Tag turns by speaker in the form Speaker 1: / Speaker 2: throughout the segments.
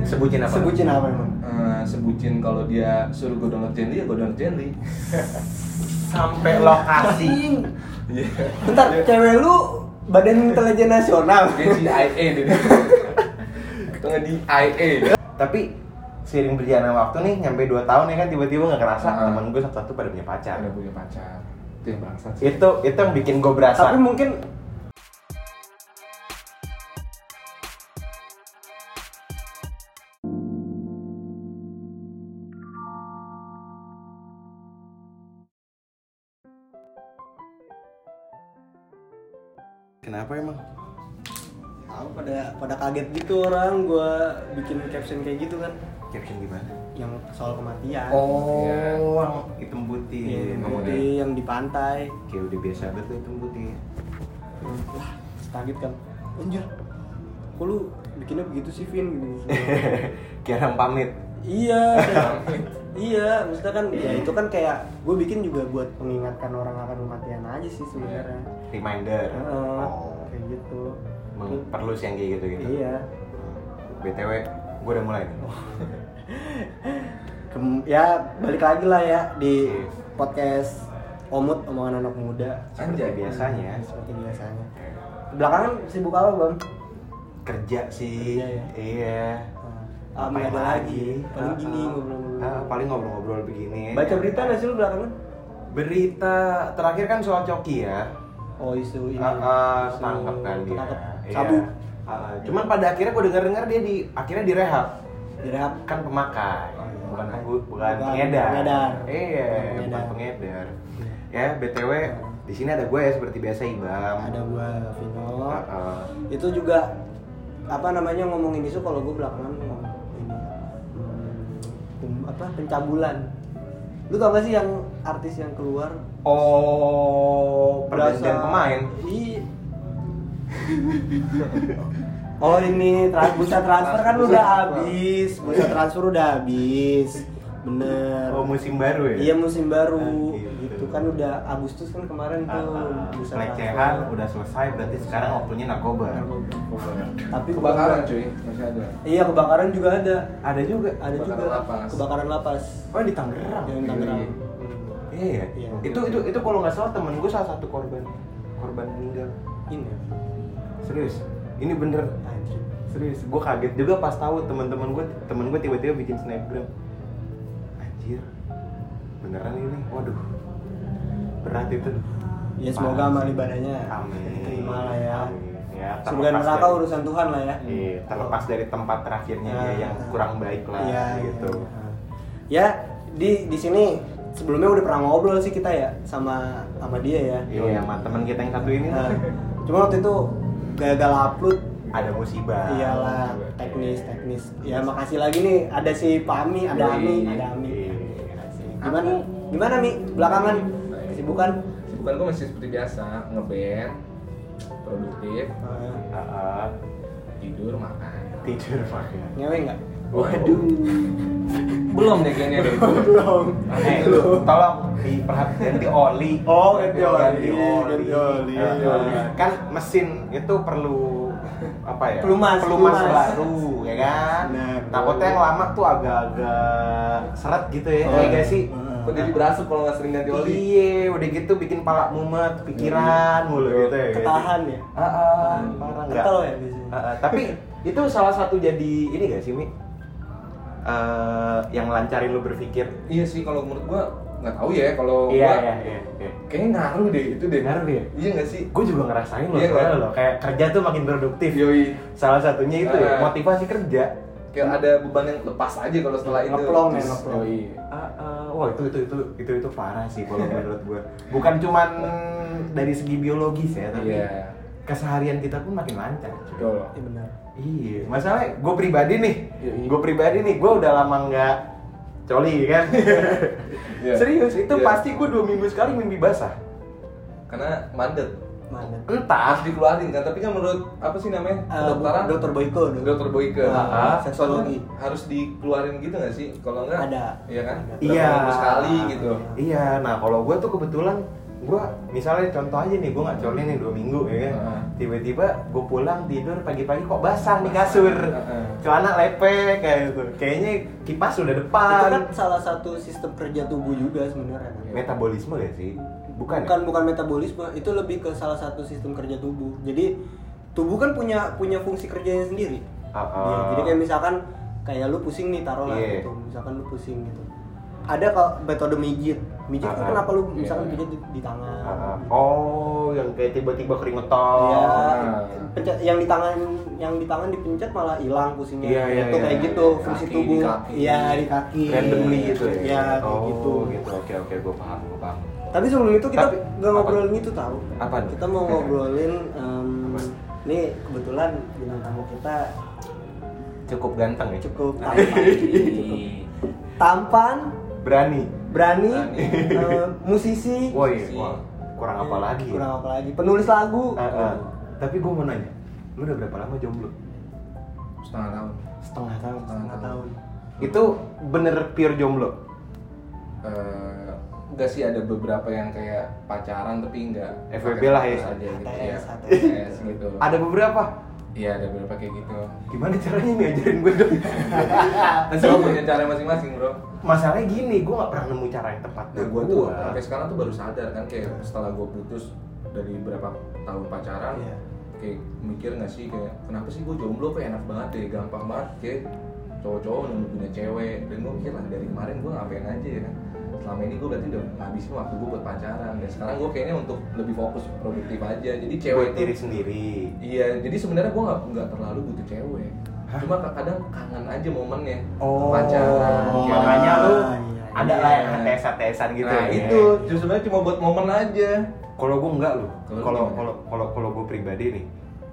Speaker 1: Sebutin apa?
Speaker 2: Sebutin apa emang?
Speaker 1: Eh, sebutin kalau dia suruh gue download Jenly ya gue download Jenly.
Speaker 3: sampai lokasi
Speaker 2: Anjing.
Speaker 1: Iya.
Speaker 2: Bentar, cewek lu badan intelijen nasional.
Speaker 1: Dia CIA dia. Itu nggak di IA.
Speaker 4: Tapi sering berjalannya waktu nih nyampe 2 tahun ya kan tiba-tiba nggak kerasa
Speaker 1: Heeh.
Speaker 2: Ah.
Speaker 4: temen gue satu-satu pada punya pacar.
Speaker 1: Ada punya pacar. Itu yang bangsat sih.
Speaker 4: Itu itu yang bikin gue berasa.
Speaker 2: Tapi mungkin
Speaker 4: Kenapa emang?
Speaker 2: Aku pada pada kaget gitu orang gua bikin caption kayak gitu kan
Speaker 4: Caption gimana?
Speaker 2: yang soal kematian.
Speaker 4: Oh,
Speaker 1: Iya.
Speaker 4: yang hitam putih.
Speaker 2: Iya, yang
Speaker 1: ngomongnya.
Speaker 2: putih, yang di pantai.
Speaker 4: Kayak udah biasa banget tuh hitam putih.
Speaker 2: Wah, kaget kan. Anjir. Kok lu bikinnya begitu sih, Vin? Gitu.
Speaker 4: Kayak orang pamit.
Speaker 2: iya. kayak- iya, maksudnya kan ya itu kan kayak gue bikin juga buat mengingatkan orang akan kematian aja sih sebenarnya.
Speaker 4: Reminder.
Speaker 2: Heeh,
Speaker 4: Oh,
Speaker 2: kayak gitu.
Speaker 4: emang perlu sih yang kayak gitu-gitu.
Speaker 2: Iya. Oh.
Speaker 4: BTW, gue udah mulai nih.
Speaker 2: Kem- ya balik lagi lah ya di
Speaker 4: Iya.
Speaker 2: podcast Omut omongan anak muda
Speaker 4: Seperti
Speaker 1: Anjay.
Speaker 4: biasanya
Speaker 2: seperti biasanya. Belakangan sibuk apa, Bang?
Speaker 4: kerja sih.
Speaker 2: Kerja ya?
Speaker 4: Iya.
Speaker 2: Ah,
Speaker 4: Ngapain
Speaker 2: nggak ada lagi. Paling
Speaker 4: Ah,
Speaker 2: gini
Speaker 4: ah.
Speaker 2: ngobrol-ngobrol.
Speaker 4: Ah, paling ngobrol-ngobrol begini.
Speaker 2: Baca berita nggak sih lu belakangan?
Speaker 4: Berita terakhir kan soal Coki ya.
Speaker 2: Oh isu ini.
Speaker 4: Ah, ah,
Speaker 2: Isu
Speaker 4: tangkap kan dia.
Speaker 2: ketangkep
Speaker 4: Iya.
Speaker 2: sabu.
Speaker 4: Ah, ah. cuman pada akhirnya gue denger dengar dia di akhirnya direhab
Speaker 2: Direhab.
Speaker 4: kan pemakai
Speaker 2: Oh, iya.
Speaker 4: bukan
Speaker 2: Pemakai.
Speaker 4: aku bukan
Speaker 2: Bukan
Speaker 4: pengedar
Speaker 2: pengedar.
Speaker 4: iya bukan
Speaker 2: Bukan pengedar. Iya.
Speaker 4: pengedar ya btw di sini ada gue ya seperti biasa ibam
Speaker 2: Ada gua Vino.
Speaker 4: Ah, ah.
Speaker 2: Itu juga apa namanya ngomongin isu kalau gua belakangan ngomong ini hmm, pem- apa pencabulan. Lu tau gak sih yang artis yang keluar
Speaker 4: oh pergantian
Speaker 2: berasa-
Speaker 4: pemain
Speaker 2: Iya. Oh ini trans bursa transfer kan udah habis, bursa transfer udah habis, bener.
Speaker 4: oh musim baru ya
Speaker 2: Iya musim baru,
Speaker 4: Ah, gitu.
Speaker 2: gitu kan udah Agustus kan kemarin
Speaker 4: Ah,
Speaker 2: tuh
Speaker 4: ah.
Speaker 2: bursa
Speaker 4: pelecehan
Speaker 2: transfer.
Speaker 4: udah selesai berarti sekarang waktunya narkoba
Speaker 2: Tapi
Speaker 1: Kebakaran cuy, masih ada.
Speaker 2: Iya kebakaran juga ada,
Speaker 4: ada juga
Speaker 2: ada
Speaker 1: Kebakaran
Speaker 2: juga
Speaker 1: lapas.
Speaker 2: kebakaran lapas
Speaker 4: oh di Tangerang
Speaker 2: yang Tangerang.
Speaker 1: Iya.
Speaker 4: Iya ya.
Speaker 2: Iya.
Speaker 4: Itu itu itu kalau nggak salah temen gue salah satu korban korban meninggal.
Speaker 2: Ini ya,
Speaker 4: Serius. Ini bener
Speaker 2: anjir. Ya,
Speaker 4: serius. Gue kaget juga pas tahu teman-teman gue temen gue tiba-tiba bikin snapgram. Anjir. Beneran ini. Waduh. Berat itu.
Speaker 2: Ya semoga
Speaker 4: Parah
Speaker 2: amal
Speaker 4: sih.
Speaker 2: ibadahnya
Speaker 4: Amin.
Speaker 2: diterima lah ya.
Speaker 4: Amin. Ya,
Speaker 2: Surga
Speaker 4: terlepas
Speaker 2: neraka
Speaker 4: dari-
Speaker 2: urusan Tuhan lah ya.
Speaker 4: Iya, terlepas dari tempat terakhirnya dia
Speaker 2: Ah.
Speaker 4: yang kurang baik lah
Speaker 2: Iya,
Speaker 4: gitu.
Speaker 2: iya. Ya, di di sini sebelumnya udah pernah ngobrol sih kita ya sama sama dia ya.
Speaker 4: Iya, sama teman kita yang satu ini
Speaker 2: Nah, cuma waktu itu gagal upload
Speaker 4: ada musibah.
Speaker 2: iyalah teknis teknis. Ya makasih lagi nih ada si Pami, ada Ami, ada Ami.
Speaker 4: Iya.
Speaker 2: Gimana gimana Mi belakangan kesibukan?
Speaker 1: Sibukan gue masih seperti biasa, ngeband, produktif,
Speaker 2: Eh,
Speaker 4: Heeh.
Speaker 1: tidur, makan.
Speaker 4: Ah, tidur pakai.
Speaker 2: Ngewe nggak?
Speaker 1: Waduh. Belum deh kayaknya deh.
Speaker 2: Belum.
Speaker 4: Eh, tolong diperhatikan di oli.
Speaker 2: Oh, ganti oli,
Speaker 4: Ganti oli.
Speaker 2: ganti oli. Iya.
Speaker 4: Ganti oli. Kan mesin itu perlu apa ya?
Speaker 2: Pelumas,
Speaker 4: pelumas,
Speaker 2: pelumas.
Speaker 4: baru, ya kan?
Speaker 2: Benar.
Speaker 4: Takutnya yang lama tuh agak-agak seret gitu ya,
Speaker 2: Oh,
Speaker 4: iya gak sih?
Speaker 2: iya.
Speaker 1: Kok jadi berasup kalau nggak sering ganti oli?
Speaker 4: Iya, udah gitu bikin pala mumet, pikiran
Speaker 1: Hmm.
Speaker 4: mulu gitu ya. gak sih?
Speaker 2: Ketahan ya.
Speaker 4: Ah, ah, parah nggak?
Speaker 2: Ketel ya biasanya.
Speaker 4: Ah, ah, tapi itu salah satu jadi ini gak sih, Mi? Eh, yang lancarin lu berpikir.
Speaker 1: Iya sih kalau menurut gua nggak tahu ya kalau
Speaker 4: Iya,
Speaker 1: gua
Speaker 4: iya, iya, iya.
Speaker 1: kayaknya ngaruh deh itu deh.
Speaker 4: Ngaruh ya?
Speaker 1: Iya nggak sih?
Speaker 4: Gue juga ngerasain loh,
Speaker 1: Iya,
Speaker 4: soalnya
Speaker 1: kan?
Speaker 4: loh, kayak kerja tuh makin produktif.
Speaker 1: Yoi.
Speaker 4: Salah satunya itu ya,
Speaker 1: Ah.
Speaker 4: motivasi kerja.
Speaker 1: Kayak ada beban yang lepas aja kalau setelah itu.
Speaker 2: Ngeplong ya,
Speaker 1: Terus- iya.
Speaker 2: ngeplong.
Speaker 1: Yoi.
Speaker 4: Ah, ah, wah itu itu itu itu itu parah sih kalau menurut gue. Bukan cuman dari segi biologis ya, tapi
Speaker 1: Iya.
Speaker 4: keseharian kita pun makin lancar. cuy.
Speaker 1: Betul.
Speaker 2: Iya benar.
Speaker 4: Iya, masalahnya gue pribadi nih,
Speaker 1: Iya, iya.
Speaker 4: gue pribadi nih, gue udah lama nggak coli kan.
Speaker 1: Iya.
Speaker 4: Serius, itu
Speaker 1: Iya.
Speaker 4: pasti gue dua minggu sekali mimpi basah.
Speaker 1: Karena mandet.
Speaker 2: Mana?
Speaker 1: Harus
Speaker 4: Entah.
Speaker 1: dikeluarin kan, tapi kan menurut apa sih namanya? Kedokteran?
Speaker 2: dokter Boyko dong.
Speaker 1: Dokter Boyke.
Speaker 4: Ah.
Speaker 2: Ah, seksologi.
Speaker 1: harus dikeluarin gitu nggak sih? Kalau nggak
Speaker 2: Ada.
Speaker 1: Iya kan?
Speaker 2: Ada.
Speaker 1: Berapa
Speaker 4: Iya.
Speaker 1: minggu sekali gitu.
Speaker 4: Iya, nah kalau gue tuh kebetulan gue misalnya contoh aja nih gue colin nih dua minggu ya kan
Speaker 1: Heeh.
Speaker 4: tiba-tiba gue pulang tidur pagi-pagi kok basah nih kasur
Speaker 1: Heeh.
Speaker 4: celana lepek kayak gitu kayaknya kipas udah
Speaker 2: itu
Speaker 4: depan
Speaker 2: kan salah satu sistem kerja tubuh juga sebenarnya kan?
Speaker 4: metabolisme gak sih bukan ya?
Speaker 2: bukan bukan metabolisme itu lebih ke salah satu sistem kerja tubuh jadi tubuh kan punya punya fungsi kerjanya sendiri
Speaker 4: Ah, ah.
Speaker 2: Iya, jadi kayak misalkan kayak lu pusing nih taruhlah
Speaker 4: Iya.
Speaker 2: gitu misalkan lu pusing gitu ada kalau metode mijit mijit
Speaker 4: Ah,
Speaker 2: kan
Speaker 4: ah.
Speaker 2: kenapa lu
Speaker 1: Iya.
Speaker 2: misalkan pijit di, di tangan
Speaker 4: Ah, ah. oh yang kayak tiba-tiba keringetan
Speaker 2: Iya,
Speaker 1: Ah.
Speaker 4: Oh.
Speaker 2: pencet- yang di tangan yang di tangan dipencet malah hilang pusingnya.
Speaker 4: Iya, iya,
Speaker 2: itu
Speaker 4: iya.
Speaker 2: kayak gitu
Speaker 1: Kaki,
Speaker 2: fungsi
Speaker 1: di
Speaker 2: tubuh.
Speaker 1: kaki.
Speaker 2: Iya, di kaki.
Speaker 4: randomly gitu ya?
Speaker 2: Iya, kayak
Speaker 4: oh,
Speaker 2: gitu.
Speaker 4: gitu. Oke oke gue paham gue paham.
Speaker 2: Tapi sebelum itu kita
Speaker 4: Tapi,
Speaker 2: nggak
Speaker 4: apa?
Speaker 2: ngobrolin itu tahu.
Speaker 4: Apa?
Speaker 2: Kita mau ngobrolin em,
Speaker 4: Apa?
Speaker 2: ini kebetulan bintang tamu kita
Speaker 4: Cukup ganteng ya.
Speaker 2: cukup tampan, cukup tampan,
Speaker 4: Berani.
Speaker 2: berani,
Speaker 1: Berani.
Speaker 2: em, musisi,
Speaker 4: Woi, wah, kurang apa lagi? ya?
Speaker 2: Iya kurang apa lagi, penulis lagu.
Speaker 4: Ah, ah. Tapi gue mau nanya, lu udah berapa lama jomblo?
Speaker 1: setengah tahun
Speaker 2: Setengah tahun, setengah tahun.
Speaker 4: Iya, Itu bener pure jomblo.
Speaker 1: Eh, enggak sih ada beberapa yang kayak pacaran tapi enggak
Speaker 4: FWB lah ya.
Speaker 1: aja gitu ya
Speaker 2: ATS, ATS.
Speaker 1: ATS gitu
Speaker 4: Ada beberapa.
Speaker 1: iya ada beberapa kayak gitu
Speaker 4: Gimana caranya nih ajarin gue dong?
Speaker 1: semua punya cara masing-masing bro
Speaker 4: Nah, Masalahnya gini, gue gak pernah nemu cara yang tepat
Speaker 1: Nah,
Speaker 4: buat
Speaker 1: gue tuh
Speaker 4: ah.
Speaker 1: sampai sekarang tuh baru sadar kan kayak setelah gue putus dari berapa tahun pacaran,
Speaker 2: Iya.
Speaker 1: kayak mikir nggak sih kayak kenapa sih gue jomblo kok enak banget deh, gampang banget kayak cowok-cowok nunggu punya cewek dan gue mikir lah dari kemarin gue ngapain aja ya kan selama ini gue berarti udah ngabisin waktu gue buat pacaran dan sekarang gue kayaknya untuk lebih fokus produktif aja jadi cewek
Speaker 4: Buat
Speaker 1: tuh
Speaker 4: diri sendiri.
Speaker 1: iya jadi sebenarnya gue nggak nggak terlalu butuh cewek cuma kadang kangen aja momennya
Speaker 4: Oh,
Speaker 1: pacaran
Speaker 4: oh,
Speaker 1: kayak-
Speaker 4: makanya lu
Speaker 2: Ah, iya,
Speaker 4: ada
Speaker 1: ya. iya.
Speaker 4: lah yang tes-tesan gitu.
Speaker 1: nah
Speaker 4: ya.
Speaker 1: itu justru sebenarnya cuma buat momen aja
Speaker 4: Kalau gue enggak loh.
Speaker 1: Kalau lu
Speaker 4: Kalau
Speaker 1: gimana?
Speaker 4: kalau kalau kalau gue pribadi nih,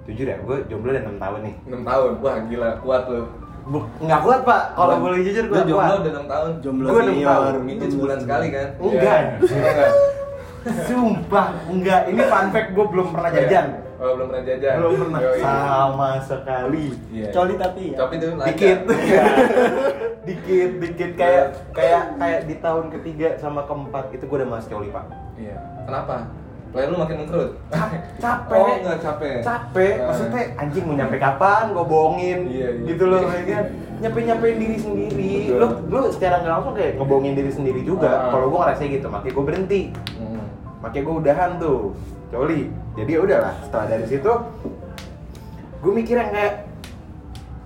Speaker 4: jujur ya, gue jomblo udah 6 tahun nih.
Speaker 1: 6 tahun wah gila kuat lo
Speaker 4: Bu, nggak kuat pak, kalau boleh jujur gue
Speaker 1: gue jomblo
Speaker 4: kuat.
Speaker 1: udah 6 tahun
Speaker 2: Jomblo
Speaker 4: Gua enam
Speaker 2: senior,
Speaker 4: tahun,
Speaker 1: mijit sebulan sekali kan
Speaker 4: Enggak.
Speaker 1: Iya. Enggak.
Speaker 4: Sumpah, enggak. Ini fun fact gue belum pernah jajan.
Speaker 1: oh, belum pernah jajan
Speaker 4: Belum pernah.
Speaker 1: Yoi.
Speaker 4: Sama sekali.
Speaker 1: Iya.
Speaker 2: Coli tapi ya.
Speaker 1: tapi itu lancar. Iya.
Speaker 4: Dikit. dikit, dikit kayak kayak kayak di tahun ketiga sama keempat itu gue udah mas coli pak.
Speaker 1: iya kenapa Player lu makin mengkerut
Speaker 4: capek
Speaker 1: Oh enggak capek
Speaker 4: capek
Speaker 1: Eh.
Speaker 4: maksudnya anjing mau nyampe kapan gue bohongin
Speaker 1: Iya, iya.
Speaker 4: gitu loh kayak kan nyampe nyampein diri sendiri
Speaker 1: Betul.
Speaker 4: lu lu secara nggak langsung kayak ngebohongin diri sendiri juga
Speaker 1: Ah.
Speaker 4: kalau gue ngerasa gitu makanya gue berhenti
Speaker 1: Hmm.
Speaker 4: makanya gue udahan tuh coli jadi ya udahlah setelah dari situ gue mikir yang kayak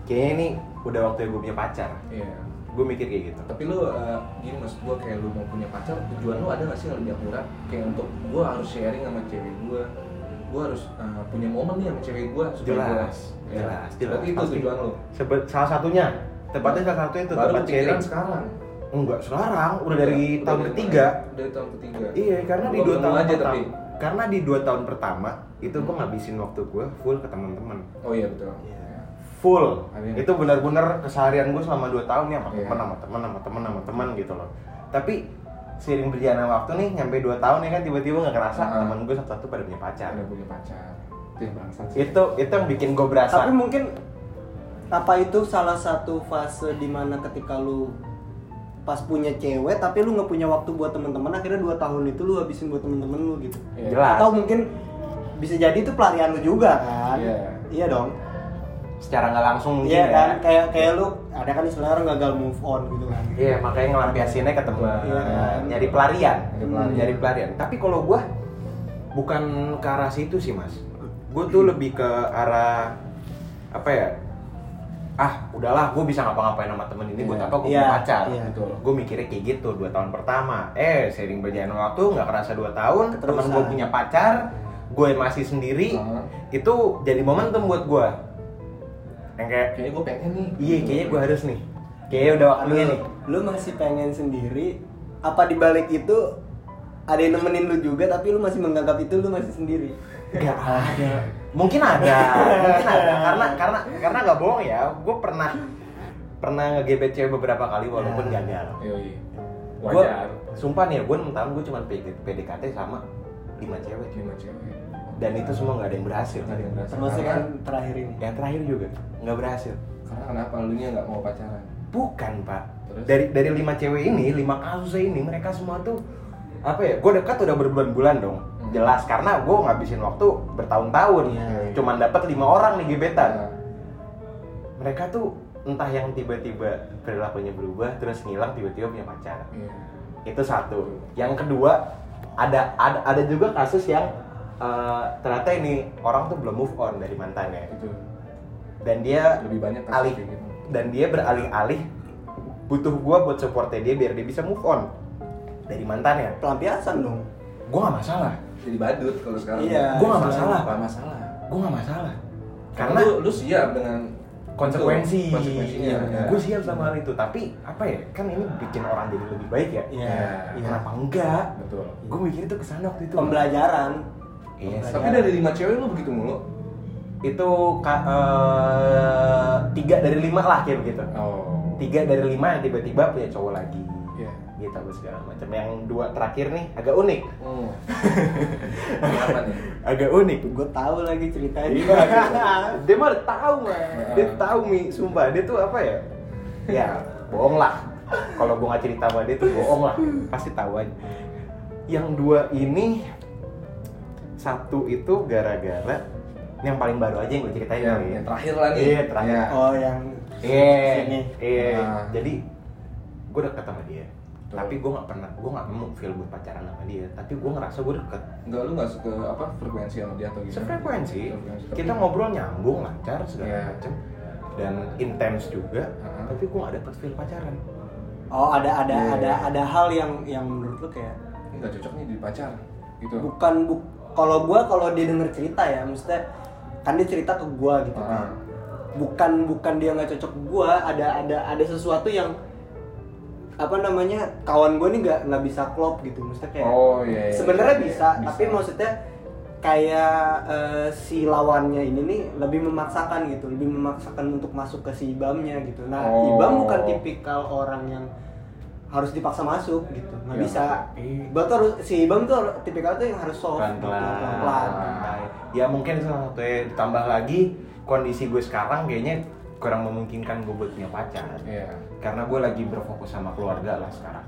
Speaker 4: kayaknya ini udah waktunya gue punya pacar
Speaker 1: iya
Speaker 4: gue mikir kayak gitu
Speaker 1: tapi lu eh, gini maksud gua kayak lu mau punya pacar tujuan lu ada gak sih yang lebih akurat kayak untuk gua harus sharing sama cewek gua gua harus eh, punya momen nih sama cewek gua supaya gua-
Speaker 4: jelas
Speaker 1: Ya.
Speaker 4: jelas jelas
Speaker 1: berarti itu
Speaker 4: Pasti.
Speaker 1: tujuan lu
Speaker 4: Sebe- salah satunya tepatnya salah satunya itu
Speaker 1: baru
Speaker 4: tempat
Speaker 1: kepikiran
Speaker 4: sharing
Speaker 1: sekarang
Speaker 4: Enggak sekarang, udah dari
Speaker 1: Udah
Speaker 4: tahun
Speaker 1: dari-
Speaker 4: ketiga.
Speaker 1: dari tahun ketiga
Speaker 4: Iya, karena di
Speaker 1: Belum
Speaker 4: dua
Speaker 1: nemu
Speaker 4: tahun
Speaker 1: aja
Speaker 4: pertama.
Speaker 1: tapi
Speaker 4: Karena di dua tahun pertama itu gue ngabisin waktu gue full ke teman-teman.
Speaker 1: oh iya betul
Speaker 2: Iya.
Speaker 4: Full.
Speaker 1: Amin.
Speaker 4: Itu benar-benar keseharian gue selama dua tahun ya sama
Speaker 1: Iya.
Speaker 4: teman sama teman sama teman sama teman gitu loh. Tapi seiring berjalannya waktu nih nyampe dua tahun ya kan tiba-tiba nggak kerasa
Speaker 1: Ah.
Speaker 4: teman gue satu-satu pada punya pacar.
Speaker 1: udah punya pacar itu yang bangsat sih
Speaker 4: Itu itu yang bikin gue berasa.
Speaker 2: Tapi mungkin apa itu salah satu fase dimana ketika lu pas punya cewek tapi lu nggak punya waktu buat temen-temen akhirnya dua tahun itu lu habisin buat temen-temen lu gitu
Speaker 1: Iya.
Speaker 4: Jelas.
Speaker 2: atau mungkin bisa jadi itu pelarian lu juga kan
Speaker 1: Iya.
Speaker 2: iya dong
Speaker 4: secara nggak langsung mungkin
Speaker 2: iya
Speaker 4: ya.
Speaker 2: kan kayak kayak lu ada kan istilah orang gagal move on gitu kan
Speaker 4: Iya, makanya ngelampiasinnya ke teman.
Speaker 2: Iya.
Speaker 4: Nyari pelarian,
Speaker 1: Nyari pelarian.
Speaker 4: nyari pelarian. Tapi kalau gua bukan ke arah situ sih, Mas. Gue tuh lebih ke arah apa ya? Ah, udahlah, gue bisa ngapa-ngapain sama temen ini buat
Speaker 1: Iya.
Speaker 4: apa gue
Speaker 2: Iya,
Speaker 4: punya pacar.
Speaker 2: iya.
Speaker 1: Betul.
Speaker 4: Gue mikirnya kayak gitu dua tahun pertama. Eh, sering berjalan waktu nggak kerasa dua tahun, temen
Speaker 2: Keterusan.
Speaker 4: gue punya pacar, gue masih sendiri.
Speaker 1: Heeh.
Speaker 4: Itu jadi momentum buat gue. Yang kayak,
Speaker 1: kayaknya gue pengen nih
Speaker 4: iya, kayaknya gue harus nih. Kayaknya udah
Speaker 2: lu,
Speaker 4: waktunya nih.
Speaker 2: lu masih pengen sendiri apa dibalik itu ada yang nemenin lu juga tapi lu masih menganggap itu lu masih sendiri
Speaker 4: Gak ada. Mungkin ada, mungkin ada. Karena karena karena nggak bohong ya, gue pernah pernah ngegebet cewek beberapa kali walaupun
Speaker 2: Ya.
Speaker 4: gagal.
Speaker 1: Yoi.
Speaker 4: Gue
Speaker 1: Iya, wajar
Speaker 4: sumpah nih ya, gue 6 tahun gue cuma PDKT sama 5 cewek.
Speaker 1: lima cewek
Speaker 4: Dan itu semua nggak ada yang berhasil.
Speaker 1: Nggak ada yang berhasil.
Speaker 2: termasuk
Speaker 1: Karena-
Speaker 2: yang terakhir ini
Speaker 4: Yang terakhir juga nggak berhasil.
Speaker 1: karena kenapa lu nya nggak mau pacaran
Speaker 4: Bukan pak.
Speaker 1: Terus?
Speaker 4: Dari dari lima cewek ini, lima kasusnya ini mereka semua tuh apa ya gue dekat udah berbulan-bulan dong
Speaker 1: Hmm.
Speaker 4: jelas karena gue ngabisin waktu bertahun-tahun
Speaker 2: Iya,
Speaker 1: iya.
Speaker 4: cuman dapat lima orang nih gebetan
Speaker 1: Nah,
Speaker 4: mereka tuh entah yang tiba-tiba perilakunya berubah terus ngilang tiba-tiba punya pacar
Speaker 1: iya.
Speaker 4: itu satu yang kedua ada ada, ada juga kasus yang eh, ternyata ini orang tuh belum move on dari mantannya
Speaker 1: itu
Speaker 4: dan dia
Speaker 1: lebih banyak
Speaker 4: alih
Speaker 1: kayak gitu.
Speaker 4: dan dia beralih-alih butuh gua buat supportnya dia biar dia bisa move on dari mantannya
Speaker 2: pelampiasan dong
Speaker 4: gua nggak masalah
Speaker 1: Jadi badut kalau sekarang.
Speaker 2: Iya.
Speaker 4: Gua nggak masalah.
Speaker 1: Gak masalah.
Speaker 4: gua nggak masalah
Speaker 1: Karena
Speaker 4: karena
Speaker 1: lu, lu siap dengan
Speaker 4: konsekuensi, iya,
Speaker 1: itu, konsekuensinya. ya.
Speaker 4: gue siap sama hal itu tapi apa ya kan ini bikin orang jadi lebih baik ya
Speaker 2: Iya, iya.
Speaker 4: kenapa enggak
Speaker 1: Betul.
Speaker 4: gue mikir itu kesana waktu itu
Speaker 2: pembelajaran
Speaker 4: Iya, sih.
Speaker 1: Tapi dari lima cewek lu begitu mulu.
Speaker 4: itu ka- eh, tiga dari lima lah kayak begitu
Speaker 1: Oh.
Speaker 4: tiga dari lima yang tiba-tiba punya cowok lagi
Speaker 1: Iya.
Speaker 4: gitu apa segala macam yang dua terakhir nih agak unik
Speaker 1: Hmm. Apa nih?
Speaker 4: agak unik
Speaker 2: gue tahu lagi
Speaker 1: Iya,
Speaker 2: ceritanya
Speaker 1: gitu.
Speaker 4: dia mah tahu mah dia tahu mi sumpah dia tuh apa ya ya bohong lah kalau gua nggak cerita sama dia tuh bohong lah pasti tahu aja yang dua ini satu itu gara-gara yang paling baru aja yang gue ceritain
Speaker 1: Yang,
Speaker 4: kali ya.
Speaker 1: yang terakhir lah nih.
Speaker 4: Iya, terakhir.
Speaker 1: Iya.
Speaker 2: oh yang
Speaker 4: Iya,
Speaker 2: Sini.
Speaker 4: iya.
Speaker 1: Nah.
Speaker 4: Jadi gue deket sama dia,
Speaker 1: Tuh.
Speaker 4: tapi gue nggak pernah, gue nggak nemu feel buat pacaran sama dia. Tapi gue ngerasa gue deket.
Speaker 1: Enggak lu nggak suka apa frekuensi sama dia atau gimana?
Speaker 4: Sefrekuensi,
Speaker 1: Sefrekuensi.
Speaker 4: kita ngobrol nyambung lancar segala
Speaker 1: Iya.
Speaker 4: macem dan intens juga.
Speaker 1: Uh-huh.
Speaker 4: Tapi gue nggak dapet feel pacaran.
Speaker 2: oh ada ada
Speaker 1: Iya.
Speaker 2: ada ada hal yang yang menurut lu kayak
Speaker 1: Ini nggak cocok nih di pacar. Gitu.
Speaker 2: bukan bu kalau gua kalau dia denger cerita ya maksudnya kan dia cerita ke gua gitu
Speaker 1: Ah.
Speaker 2: kan bukan bukan dia nggak cocok ke gua ada ada ada sesuatu yang apa namanya kawan gua nih nggak nggak bisa klop gitu maksudnya kayak
Speaker 1: Oh iya. iya.
Speaker 2: sebenarnya
Speaker 1: Iya, iya.
Speaker 2: bisa, tapi maksudnya kayak eh, si lawannya ini nih lebih memaksakan gitu lebih memaksakan untuk masuk ke si ibamnya gitu nah
Speaker 1: Oh.
Speaker 2: ibam bukan tipikal orang yang harus dipaksa masuk gitu nggak
Speaker 1: Iya.
Speaker 2: bisa
Speaker 4: Iya.
Speaker 2: Gua tuh harus- si ibam tuh harus- tipikal tuh yang harus soft gitu, pelan-pelan.
Speaker 4: Ya mungkin salah satu ya. Ditambah lagi kondisi gue sekarang kayaknya kurang memungkinkan gue buat punya pacar.
Speaker 1: Iya.
Speaker 4: karena gue lagi berfokus sama keluarga lah sekarang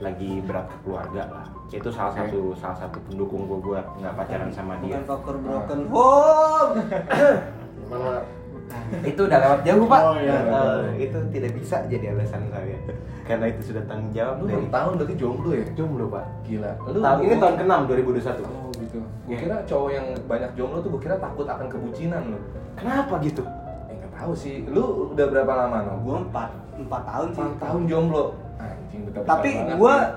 Speaker 4: lagi berat ke keluarga lah itu salah
Speaker 1: Oke.
Speaker 4: satu salah satu pendukung gue buat nggak pacaran sama dia
Speaker 2: bukan faktor broken home
Speaker 1: Mana
Speaker 4: itu udah lewat jauh pak
Speaker 2: Oh, iya.
Speaker 4: Eh, itu tidak bisa jadi alasan saya karena itu sudah tanggung jawab
Speaker 1: lu
Speaker 4: dari
Speaker 1: berapa tahun berarti jomblo ya?
Speaker 4: jomblo pak
Speaker 1: Gila. Lu
Speaker 4: tahun ini tahun ke-6
Speaker 1: Oh gitu.
Speaker 2: Iya.
Speaker 1: Gue kira cowok yang banyak jomblo tuh gue kira takut akan kebucinan lu.
Speaker 4: 2021 kenapa gitu
Speaker 1: Eh nggak tahu sih. Lu udah berapa lama no?
Speaker 2: gue Oh, empat empat tahun sih
Speaker 1: 4 tahun jomblo. Anjing betapa
Speaker 2: tapi
Speaker 1: banget
Speaker 2: gue
Speaker 1: ya.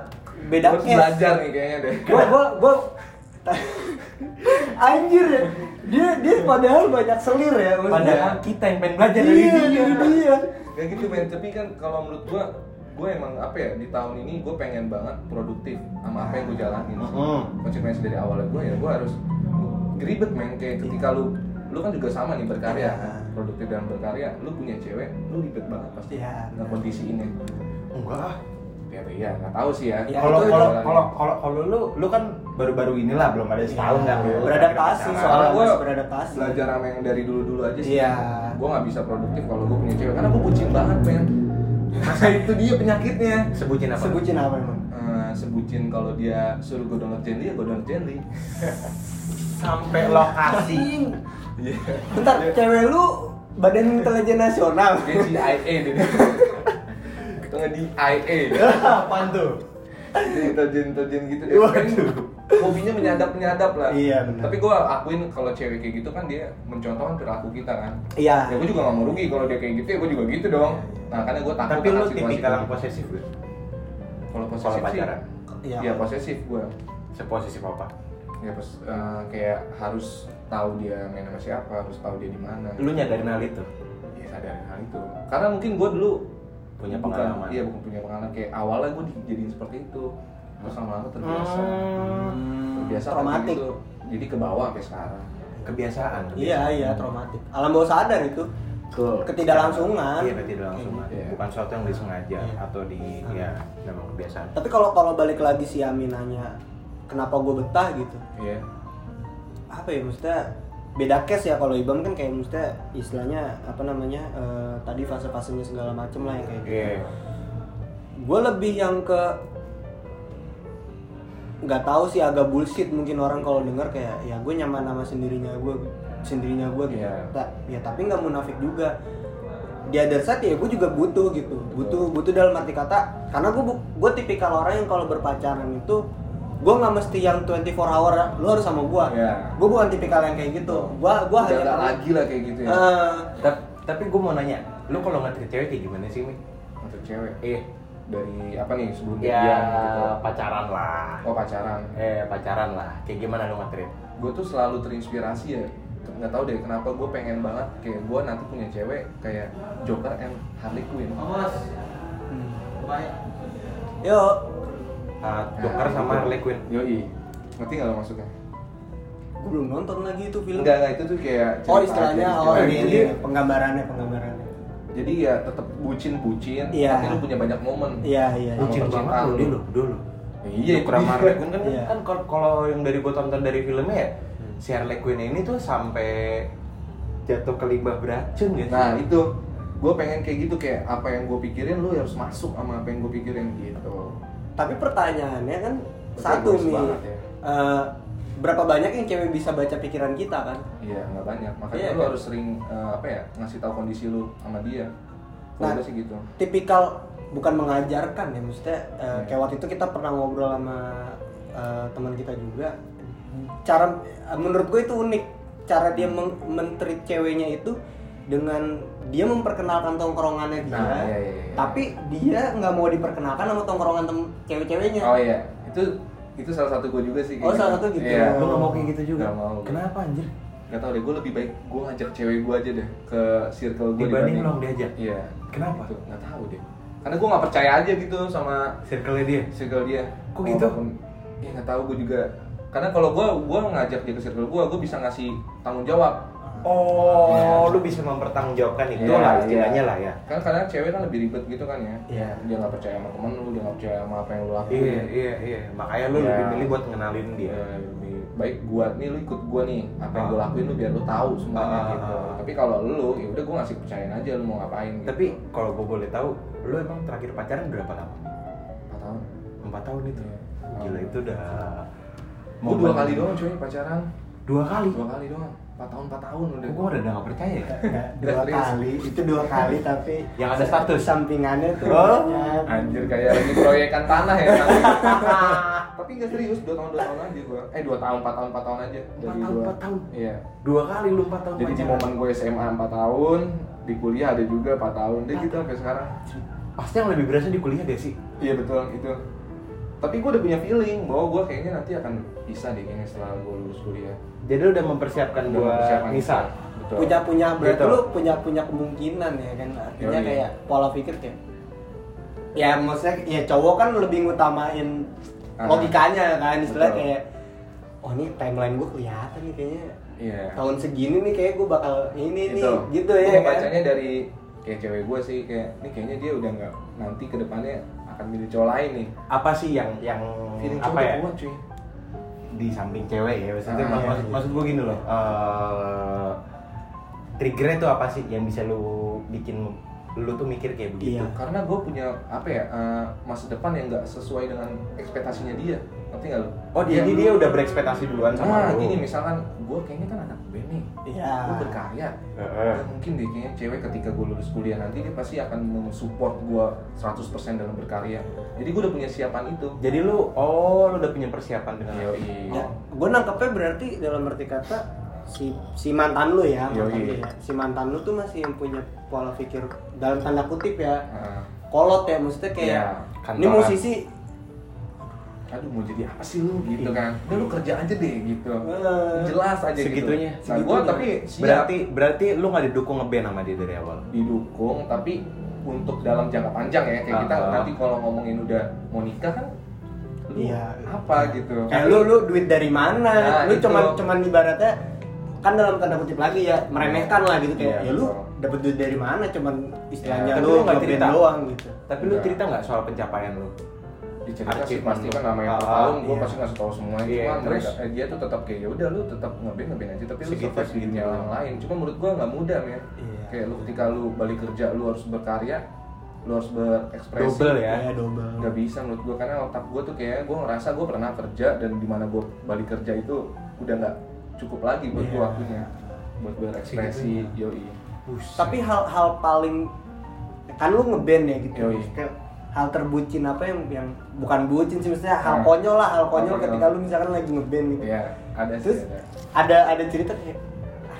Speaker 2: beda
Speaker 1: Gua harus
Speaker 2: case.
Speaker 1: belajar nih kayaknya deh.
Speaker 2: gua gua gua anjir ya dia dia padahal banyak selir ya maksudnya.
Speaker 4: padahal kita yang pengen belajar dari
Speaker 2: iya
Speaker 4: dia
Speaker 2: dari dia
Speaker 1: Kayak gitu men, tapi kan kalau menurut gua gue emang apa ya di tahun ini gue pengen banget produktif sama apa yang gue jalanin
Speaker 4: Mm-mm.
Speaker 1: konsekuensi dari awalnya gue ya gue harus ribet men kayak ketika lu lu kan juga sama nih berkarya
Speaker 2: Iya.
Speaker 1: kan? produktif dan berkarya lu punya cewek lu ribet banget pasti
Speaker 2: Iya.
Speaker 1: nggak kondisi ini
Speaker 4: enggak ah.
Speaker 1: ya iya nggak tahu sih ya
Speaker 2: Iya,
Speaker 4: kalau
Speaker 2: itu-
Speaker 4: kalau
Speaker 1: jalanin.
Speaker 4: kalau kalau kalau lu lu kan baru-baru inilah belum ada setahun kan lu
Speaker 2: Beradaptasi
Speaker 4: pacaran.
Speaker 2: soalnya.
Speaker 1: Karena gue
Speaker 2: harus beradaptasi.
Speaker 1: belajar sama yang dari dulu-dulu aja sih
Speaker 2: Iya.
Speaker 1: Gue gak bisa produktif kalau gue punya cewek Karena gue bucin banget men Masa itu dia penyakitnya
Speaker 4: sebutin apa
Speaker 2: sebutin apa emang
Speaker 1: Eh, Sebutin kalau dia suruh gue download Jenly ya gue download Jenly
Speaker 3: sampai lokasi
Speaker 1: Iya
Speaker 2: bentar cewek lu badan intelijen nasional
Speaker 1: Dia CIA dia Itu nge DIA
Speaker 4: apaan tuh
Speaker 1: Tojen-tojen gitu dia
Speaker 4: Waduh.
Speaker 1: Hobinya menyadap-menyadap lah
Speaker 2: Iya, benar.
Speaker 1: Tapi gue akuin kalau cewek kayak gitu kan dia mencontohkan perilaku kita kan
Speaker 2: iya
Speaker 1: Ya gue juga gak mau rugi kalau dia kayak gitu ya gue juga gitu dong Nah karena gue takut
Speaker 4: tapi
Speaker 1: akan
Speaker 4: lu
Speaker 1: situasi
Speaker 4: tipikal
Speaker 1: kayak
Speaker 4: yang
Speaker 1: gitu.
Speaker 4: posesif gak?
Speaker 1: kalau
Speaker 4: Kalau
Speaker 1: posesif
Speaker 4: pacaran?
Speaker 1: sih
Speaker 2: Iya.
Speaker 1: ya, posesif gue
Speaker 4: seposesif apa?
Speaker 1: ya pas eh, kayak harus tahu dia main sama siapa harus tahu dia di mana
Speaker 4: lu nyadarin hal itu?
Speaker 1: ya sadarin hal itu karena mungkin gue dulu
Speaker 4: Punya
Speaker 1: bukan-
Speaker 4: pengalaman.
Speaker 1: iya bukan punya pengalaman kayak awalnya gue dijadiin seperti itu terus lama-lama terbiasa
Speaker 4: Hmm.
Speaker 2: Hmm,
Speaker 1: terbiasa kayak
Speaker 2: traumatik
Speaker 1: Hmm. gitu. jadi ke bawah sampai sekarang
Speaker 4: kebiasaan, kebiasaan.
Speaker 2: iya iya traumatik alam bawah sadar itu
Speaker 4: Betul.
Speaker 2: Ketidaklangsungan.
Speaker 4: iya ketidaklangsungan
Speaker 1: Iya.
Speaker 4: bukan sesuatu yang disengaja
Speaker 2: Iya.
Speaker 4: atau di ya memang kebiasaan
Speaker 2: tapi kalau kalau balik lagi si Aminanya kenapa gue betah gitu
Speaker 1: iya
Speaker 2: apa ya maksudnya beda case ya kalau Ibam kan kayak maksudnya istilahnya apa namanya eh, tadi fase-fasenya segala
Speaker 1: Iya.
Speaker 2: macem lah yang kayak gitu.
Speaker 4: iya
Speaker 2: gue lebih yang ke nggak tahu sih agak bullshit mungkin orang kalau denger kayak ya gue nyaman sama sendirinya gue sendirinya gue gitu
Speaker 1: Iya.
Speaker 2: Ta- ya tapi nggak munafik juga di other side ya gue juga butuh gitu butuh butuh dalam arti kata karena gue bu- gue tipikal orang yang kalau berpacaran itu gue nggak mesti yang 24 hour lu harus sama gue
Speaker 1: Iya.
Speaker 2: gue bukan tipikal yang kayak gitu gue gue
Speaker 1: Udah
Speaker 2: hanya
Speaker 1: nggak lagi lah kayak gitu ya
Speaker 2: Eh,
Speaker 4: Ta- tapi gue mau nanya lu kalau nggak cewek kayak gimana sih mi
Speaker 1: untuk cewek
Speaker 4: eh
Speaker 1: dari apa nih sebelum
Speaker 4: ya
Speaker 1: jadian gitu
Speaker 4: pacaran lah
Speaker 1: oh pacaran
Speaker 4: eh pacaran lah kayak gimana lu ngetrit
Speaker 1: gue tuh selalu terinspirasi ya nggak tahu deh kenapa gue pengen banget kayak gue nanti punya cewek kayak Joker and Harley Quinn
Speaker 2: Nah,
Speaker 3: Awas,
Speaker 2: hmm.
Speaker 3: banyak.
Speaker 2: yuk
Speaker 4: Ah, Joker
Speaker 1: Nah,
Speaker 4: sama
Speaker 1: gitu.
Speaker 4: Harley Quinn
Speaker 1: yoi ngerti nggak lo maksudnya
Speaker 2: gue belum nonton lagi itu film
Speaker 1: enggak enggak itu tuh kayak
Speaker 2: oh
Speaker 1: cerita
Speaker 2: istilahnya
Speaker 1: aja,
Speaker 2: oh
Speaker 1: istilahnya.
Speaker 2: ini, ini
Speaker 1: Jadi-
Speaker 2: penggambarannya penggambarannya
Speaker 1: jadi ya tetap bucin bucin
Speaker 2: Iya.
Speaker 1: tapi lu punya banyak momen
Speaker 2: iya iya iya.
Speaker 4: Bucin
Speaker 1: percintaan
Speaker 4: banget lu
Speaker 1: lu.
Speaker 4: dulu dulu
Speaker 1: Iya,
Speaker 4: Joker sama
Speaker 1: itu dia.
Speaker 4: Harley Quinn kan
Speaker 2: Iya.
Speaker 4: kan kal- kalau yang dari gue tonton dari filmnya ya
Speaker 1: Hmm.
Speaker 4: si Harley Quinn ini tuh sampai jatuh ke limbah beracun gitu
Speaker 1: nah itu gue pengen kayak gitu kayak apa yang gue pikirin lu harus masuk sama apa yang gue pikirin gitu
Speaker 2: tapi pertanyaannya kan
Speaker 1: Betul,
Speaker 2: satu
Speaker 1: egois
Speaker 2: nih
Speaker 1: banget ya.
Speaker 2: Eh, berapa banyak yang cewek bisa baca pikiran kita kan
Speaker 1: Iya, nggak banyak. Makanya
Speaker 2: Iya,
Speaker 1: lu
Speaker 2: kan?
Speaker 1: harus sering eh, apa ya ngasih tahu kondisi lu sama dia. Nah,
Speaker 2: Nah.
Speaker 1: sih gitu.
Speaker 2: tipikal bukan mengajarkan ya maksudnya eh,
Speaker 1: Hmm.
Speaker 2: kayak waktu itu kita pernah ngobrol sama eh, teman kita juga
Speaker 1: Hmm.
Speaker 2: cara eh, menurut gue itu unik cara dia meng- men-treat ceweknya itu dengan dia memperkenalkan tongkrongannya dia
Speaker 1: Nah, iya, iya, iya.
Speaker 2: tapi dia nggak mau diperkenalkan sama tongkrongan tem- cewek-ceweknya
Speaker 1: Oh iya, itu itu salah satu gue juga sih. kayak
Speaker 2: Oh, salah satu gitu.
Speaker 1: Iya.
Speaker 4: lu nggak mau kayak gitu juga
Speaker 1: Nggak mau.
Speaker 4: kenapa anjir
Speaker 1: Gak tau deh, gue lebih baik gue ngajak cewek gue aja deh ke circle gue
Speaker 4: Dibanding lo yang diajak?
Speaker 1: Iya.
Speaker 4: Kenapa?
Speaker 1: Gitu. Nggak tahu deh. Karena gue nggak percaya aja gitu sama
Speaker 4: circle-nya dia
Speaker 1: circle dia.
Speaker 4: Kok gitu?
Speaker 1: Walaupun- Ya nggak tahu gue juga. Karena kalau gue gue ngajak dia ke circle gue, gue bisa ngasih tanggung jawab.
Speaker 4: Oh,
Speaker 1: Iya.
Speaker 4: lu bisa mempertanggungjawabkan itu
Speaker 1: Iya,
Speaker 4: lah
Speaker 1: iya.
Speaker 4: istilahnya lah ya.
Speaker 1: Kan kadang cewek kan lebih ribet gitu kan ya.
Speaker 2: Iya.
Speaker 1: Dia nggak percaya sama temen lu, dia nggak percaya sama apa yang lu lakuin.
Speaker 4: Iya, iya, iya. Makanya lu
Speaker 1: Iya.
Speaker 4: lebih milih buat ngenalin dia.
Speaker 1: Ya, lebih baik gua nih lu ikut gua nih apa yang gua
Speaker 4: Ah.
Speaker 1: lakuin lu biar lu tahu semuanya
Speaker 4: Ah.
Speaker 1: gitu tapi kalau lu ya udah gua ngasih percayaan aja lu mau ngapain gitu.
Speaker 4: Tapi kalau gue boleh tahu, lu emang terakhir pacaran berapa lama?
Speaker 1: empat tahun
Speaker 4: Empat tahun itu.
Speaker 1: Iya.
Speaker 4: Gila itu udah
Speaker 1: gua dua kali doang cuy pacaran
Speaker 4: Dua kali.
Speaker 1: dua kali doang empat tahun empat tahun udah
Speaker 4: Gue udah nggak percaya ya.
Speaker 2: dua kali itu dua kali tapi
Speaker 4: Yang ada status.
Speaker 2: sampingannya tuh
Speaker 4: Oh.
Speaker 2: banyak.
Speaker 1: anjir kayak lagi proyekan tanah ya tapi tapi nggak serius dua tahun dua tahun aja gua eh dua tahun empat tahun empat tahun aja
Speaker 4: Empat
Speaker 1: Dari
Speaker 4: tahun,
Speaker 1: gua-
Speaker 4: empat tahun?
Speaker 1: iya
Speaker 4: Dua kali lu empat tahun
Speaker 1: jadi di
Speaker 4: pacaran.
Speaker 1: momen gue SMA 4 tahun di kuliah ada juga 4 tahun deh gitu sampai sekarang
Speaker 4: Pasti yang lebih berasa di kuliah deh sih.
Speaker 1: iya betul itu tapi gue udah punya feeling bahwa gue kayaknya nanti akan bisa deh kayaknya setelah gue lulus kuliah
Speaker 4: Jadi lu udah mempersiapkan
Speaker 1: Udah
Speaker 4: dua
Speaker 1: mempersiapkan.
Speaker 4: misal.
Speaker 1: betul
Speaker 2: punya punya berarti
Speaker 4: Gitu.
Speaker 2: lu punya punya kemungkinan ya kan artinya
Speaker 1: Yoi.
Speaker 2: kayak pola pikir kayak ya maksudnya ya cowok kan lebih ngutamain
Speaker 1: Ah.
Speaker 2: logikanya kan istilahnya
Speaker 1: Betul.
Speaker 2: kayak oh ini timeline gue kelihatan nih kayaknya
Speaker 1: Iya.
Speaker 2: tahun segini nih kayak gue bakal ini nih gitu ya
Speaker 1: gue
Speaker 2: kan?
Speaker 1: bacanya dari kayak cewek gue sih kayak ini kayaknya dia udah nggak nanti kedepannya akan milih cowok lain nih
Speaker 4: Apa sih yang yang
Speaker 1: feeling
Speaker 4: apa
Speaker 1: cowok
Speaker 4: ya?
Speaker 1: udah kuat cuy
Speaker 4: di samping cewek ya maksudnya
Speaker 1: Ah,
Speaker 4: mak-
Speaker 1: iya,
Speaker 4: maksud,
Speaker 1: iya.
Speaker 4: maksud gue gini loh eh triggernya tuh apa sih yang bisa lu bikin lu tuh mikir kayak begitu
Speaker 2: Iya.
Speaker 1: karena gue punya apa ya eh, masa depan yang nggak sesuai dengan ekspektasinya dia ngerti nggak lo
Speaker 4: oh jadi dia udah berekspektasi duluan sama lu
Speaker 1: Nah, Iya.
Speaker 4: Ah.
Speaker 1: gini misalkan gue kayaknya kan anak band nih,
Speaker 2: Iya.
Speaker 1: gue berkarya.
Speaker 4: Heeh.
Speaker 1: Nggak mungkin deh kayaknya cewek ketika gue lulus kuliah nanti dia pasti akan mensupport gue 100% dalam berkarya. Jadi gue udah punya siapan itu.
Speaker 4: jadi lu oh lu udah punya persiapan dengan
Speaker 1: Yoi.
Speaker 2: Ya, gue nangkepnya berarti dalam arti kata si si mantan lu ya, mantan
Speaker 1: Yoi.
Speaker 2: lu ya. si mantan lu tuh masih yang punya pola pikir dalam tanda kutip ya
Speaker 1: Nah,
Speaker 2: kolot ya maksudnya kayak
Speaker 1: Iya,
Speaker 2: ini
Speaker 4: kantoran.
Speaker 2: musisi
Speaker 1: aduh mau jadi apa sih lu gitu kan? Udah lu kerja aja deh gitu.
Speaker 2: Eh,
Speaker 1: Jelas aja
Speaker 4: Ah, segitunya
Speaker 1: gitu. Nah, gue
Speaker 2: segitunya.
Speaker 1: tapi siap
Speaker 4: berarti berarti lu nggak didukung ngeband sama dia dari awal
Speaker 1: didukung tapi untuk dalam jangka panjang ya kayak kita
Speaker 4: Ah.
Speaker 1: nanti kalau ngomongin udah mau nikah kan lu
Speaker 2: Iya.
Speaker 1: apa gitu
Speaker 2: kayak lu lu duit dari
Speaker 1: Nah,
Speaker 2: mana lu
Speaker 1: itu.
Speaker 2: cuman cuman ibaratnya kan dalam tanda kutip lagi ya meremehkan lah gitu kayak ya
Speaker 1: Iya,
Speaker 2: lu
Speaker 1: betul.
Speaker 2: dapat duit dari mana cuman
Speaker 1: Iya,
Speaker 2: istilahnya
Speaker 4: tapi
Speaker 2: lu
Speaker 4: lu nggak
Speaker 2: ngeband
Speaker 4: cerita.
Speaker 2: doang gitu
Speaker 4: tapi lu
Speaker 1: Enggak.
Speaker 4: cerita nggak soal pencapaian lu
Speaker 1: dicerita sih
Speaker 4: Achievement
Speaker 1: pasti kan namanya
Speaker 4: Ah,
Speaker 1: empat tahun gue
Speaker 2: iya.
Speaker 1: pasti ngasih tahu semua
Speaker 4: Iya,
Speaker 1: cuma
Speaker 4: terus?
Speaker 1: terus dia tuh tetap kayak ya udah lu tetap ngeband ngeband aja tapi lu
Speaker 4: Segitu, gitu.
Speaker 1: survive di
Speaker 4: segitu.
Speaker 1: dunia orang lain cuma menurut gue nggak mudah ya
Speaker 2: Iya.
Speaker 1: kayak lu ketika lu balik kerja lu harus berkarya lu harus berekspresi
Speaker 4: Double ya.
Speaker 2: ya double
Speaker 1: nggak bisa menurut gue karena otak gue tuh kayak gue ngerasa gue pernah kerja dan dimana gue balik kerja itu udah nggak cukup lagi buat
Speaker 4: Iya.
Speaker 1: gue waktunya buat berekspresi yoi
Speaker 4: Buset.
Speaker 2: tapi hal-hal paling kan lu ngeband ya gitu
Speaker 1: Yoi.
Speaker 2: Maksudnya, hal terbucin apa yang yang bukan bucin sih maksudnya hal
Speaker 1: Ah.
Speaker 2: konyol lah hal konyol
Speaker 1: Hal konyol.
Speaker 2: ketika lu misalkan lagi ngeband gitu
Speaker 1: ya ada sih
Speaker 2: terus
Speaker 1: ada.
Speaker 2: ada ada cerita kayak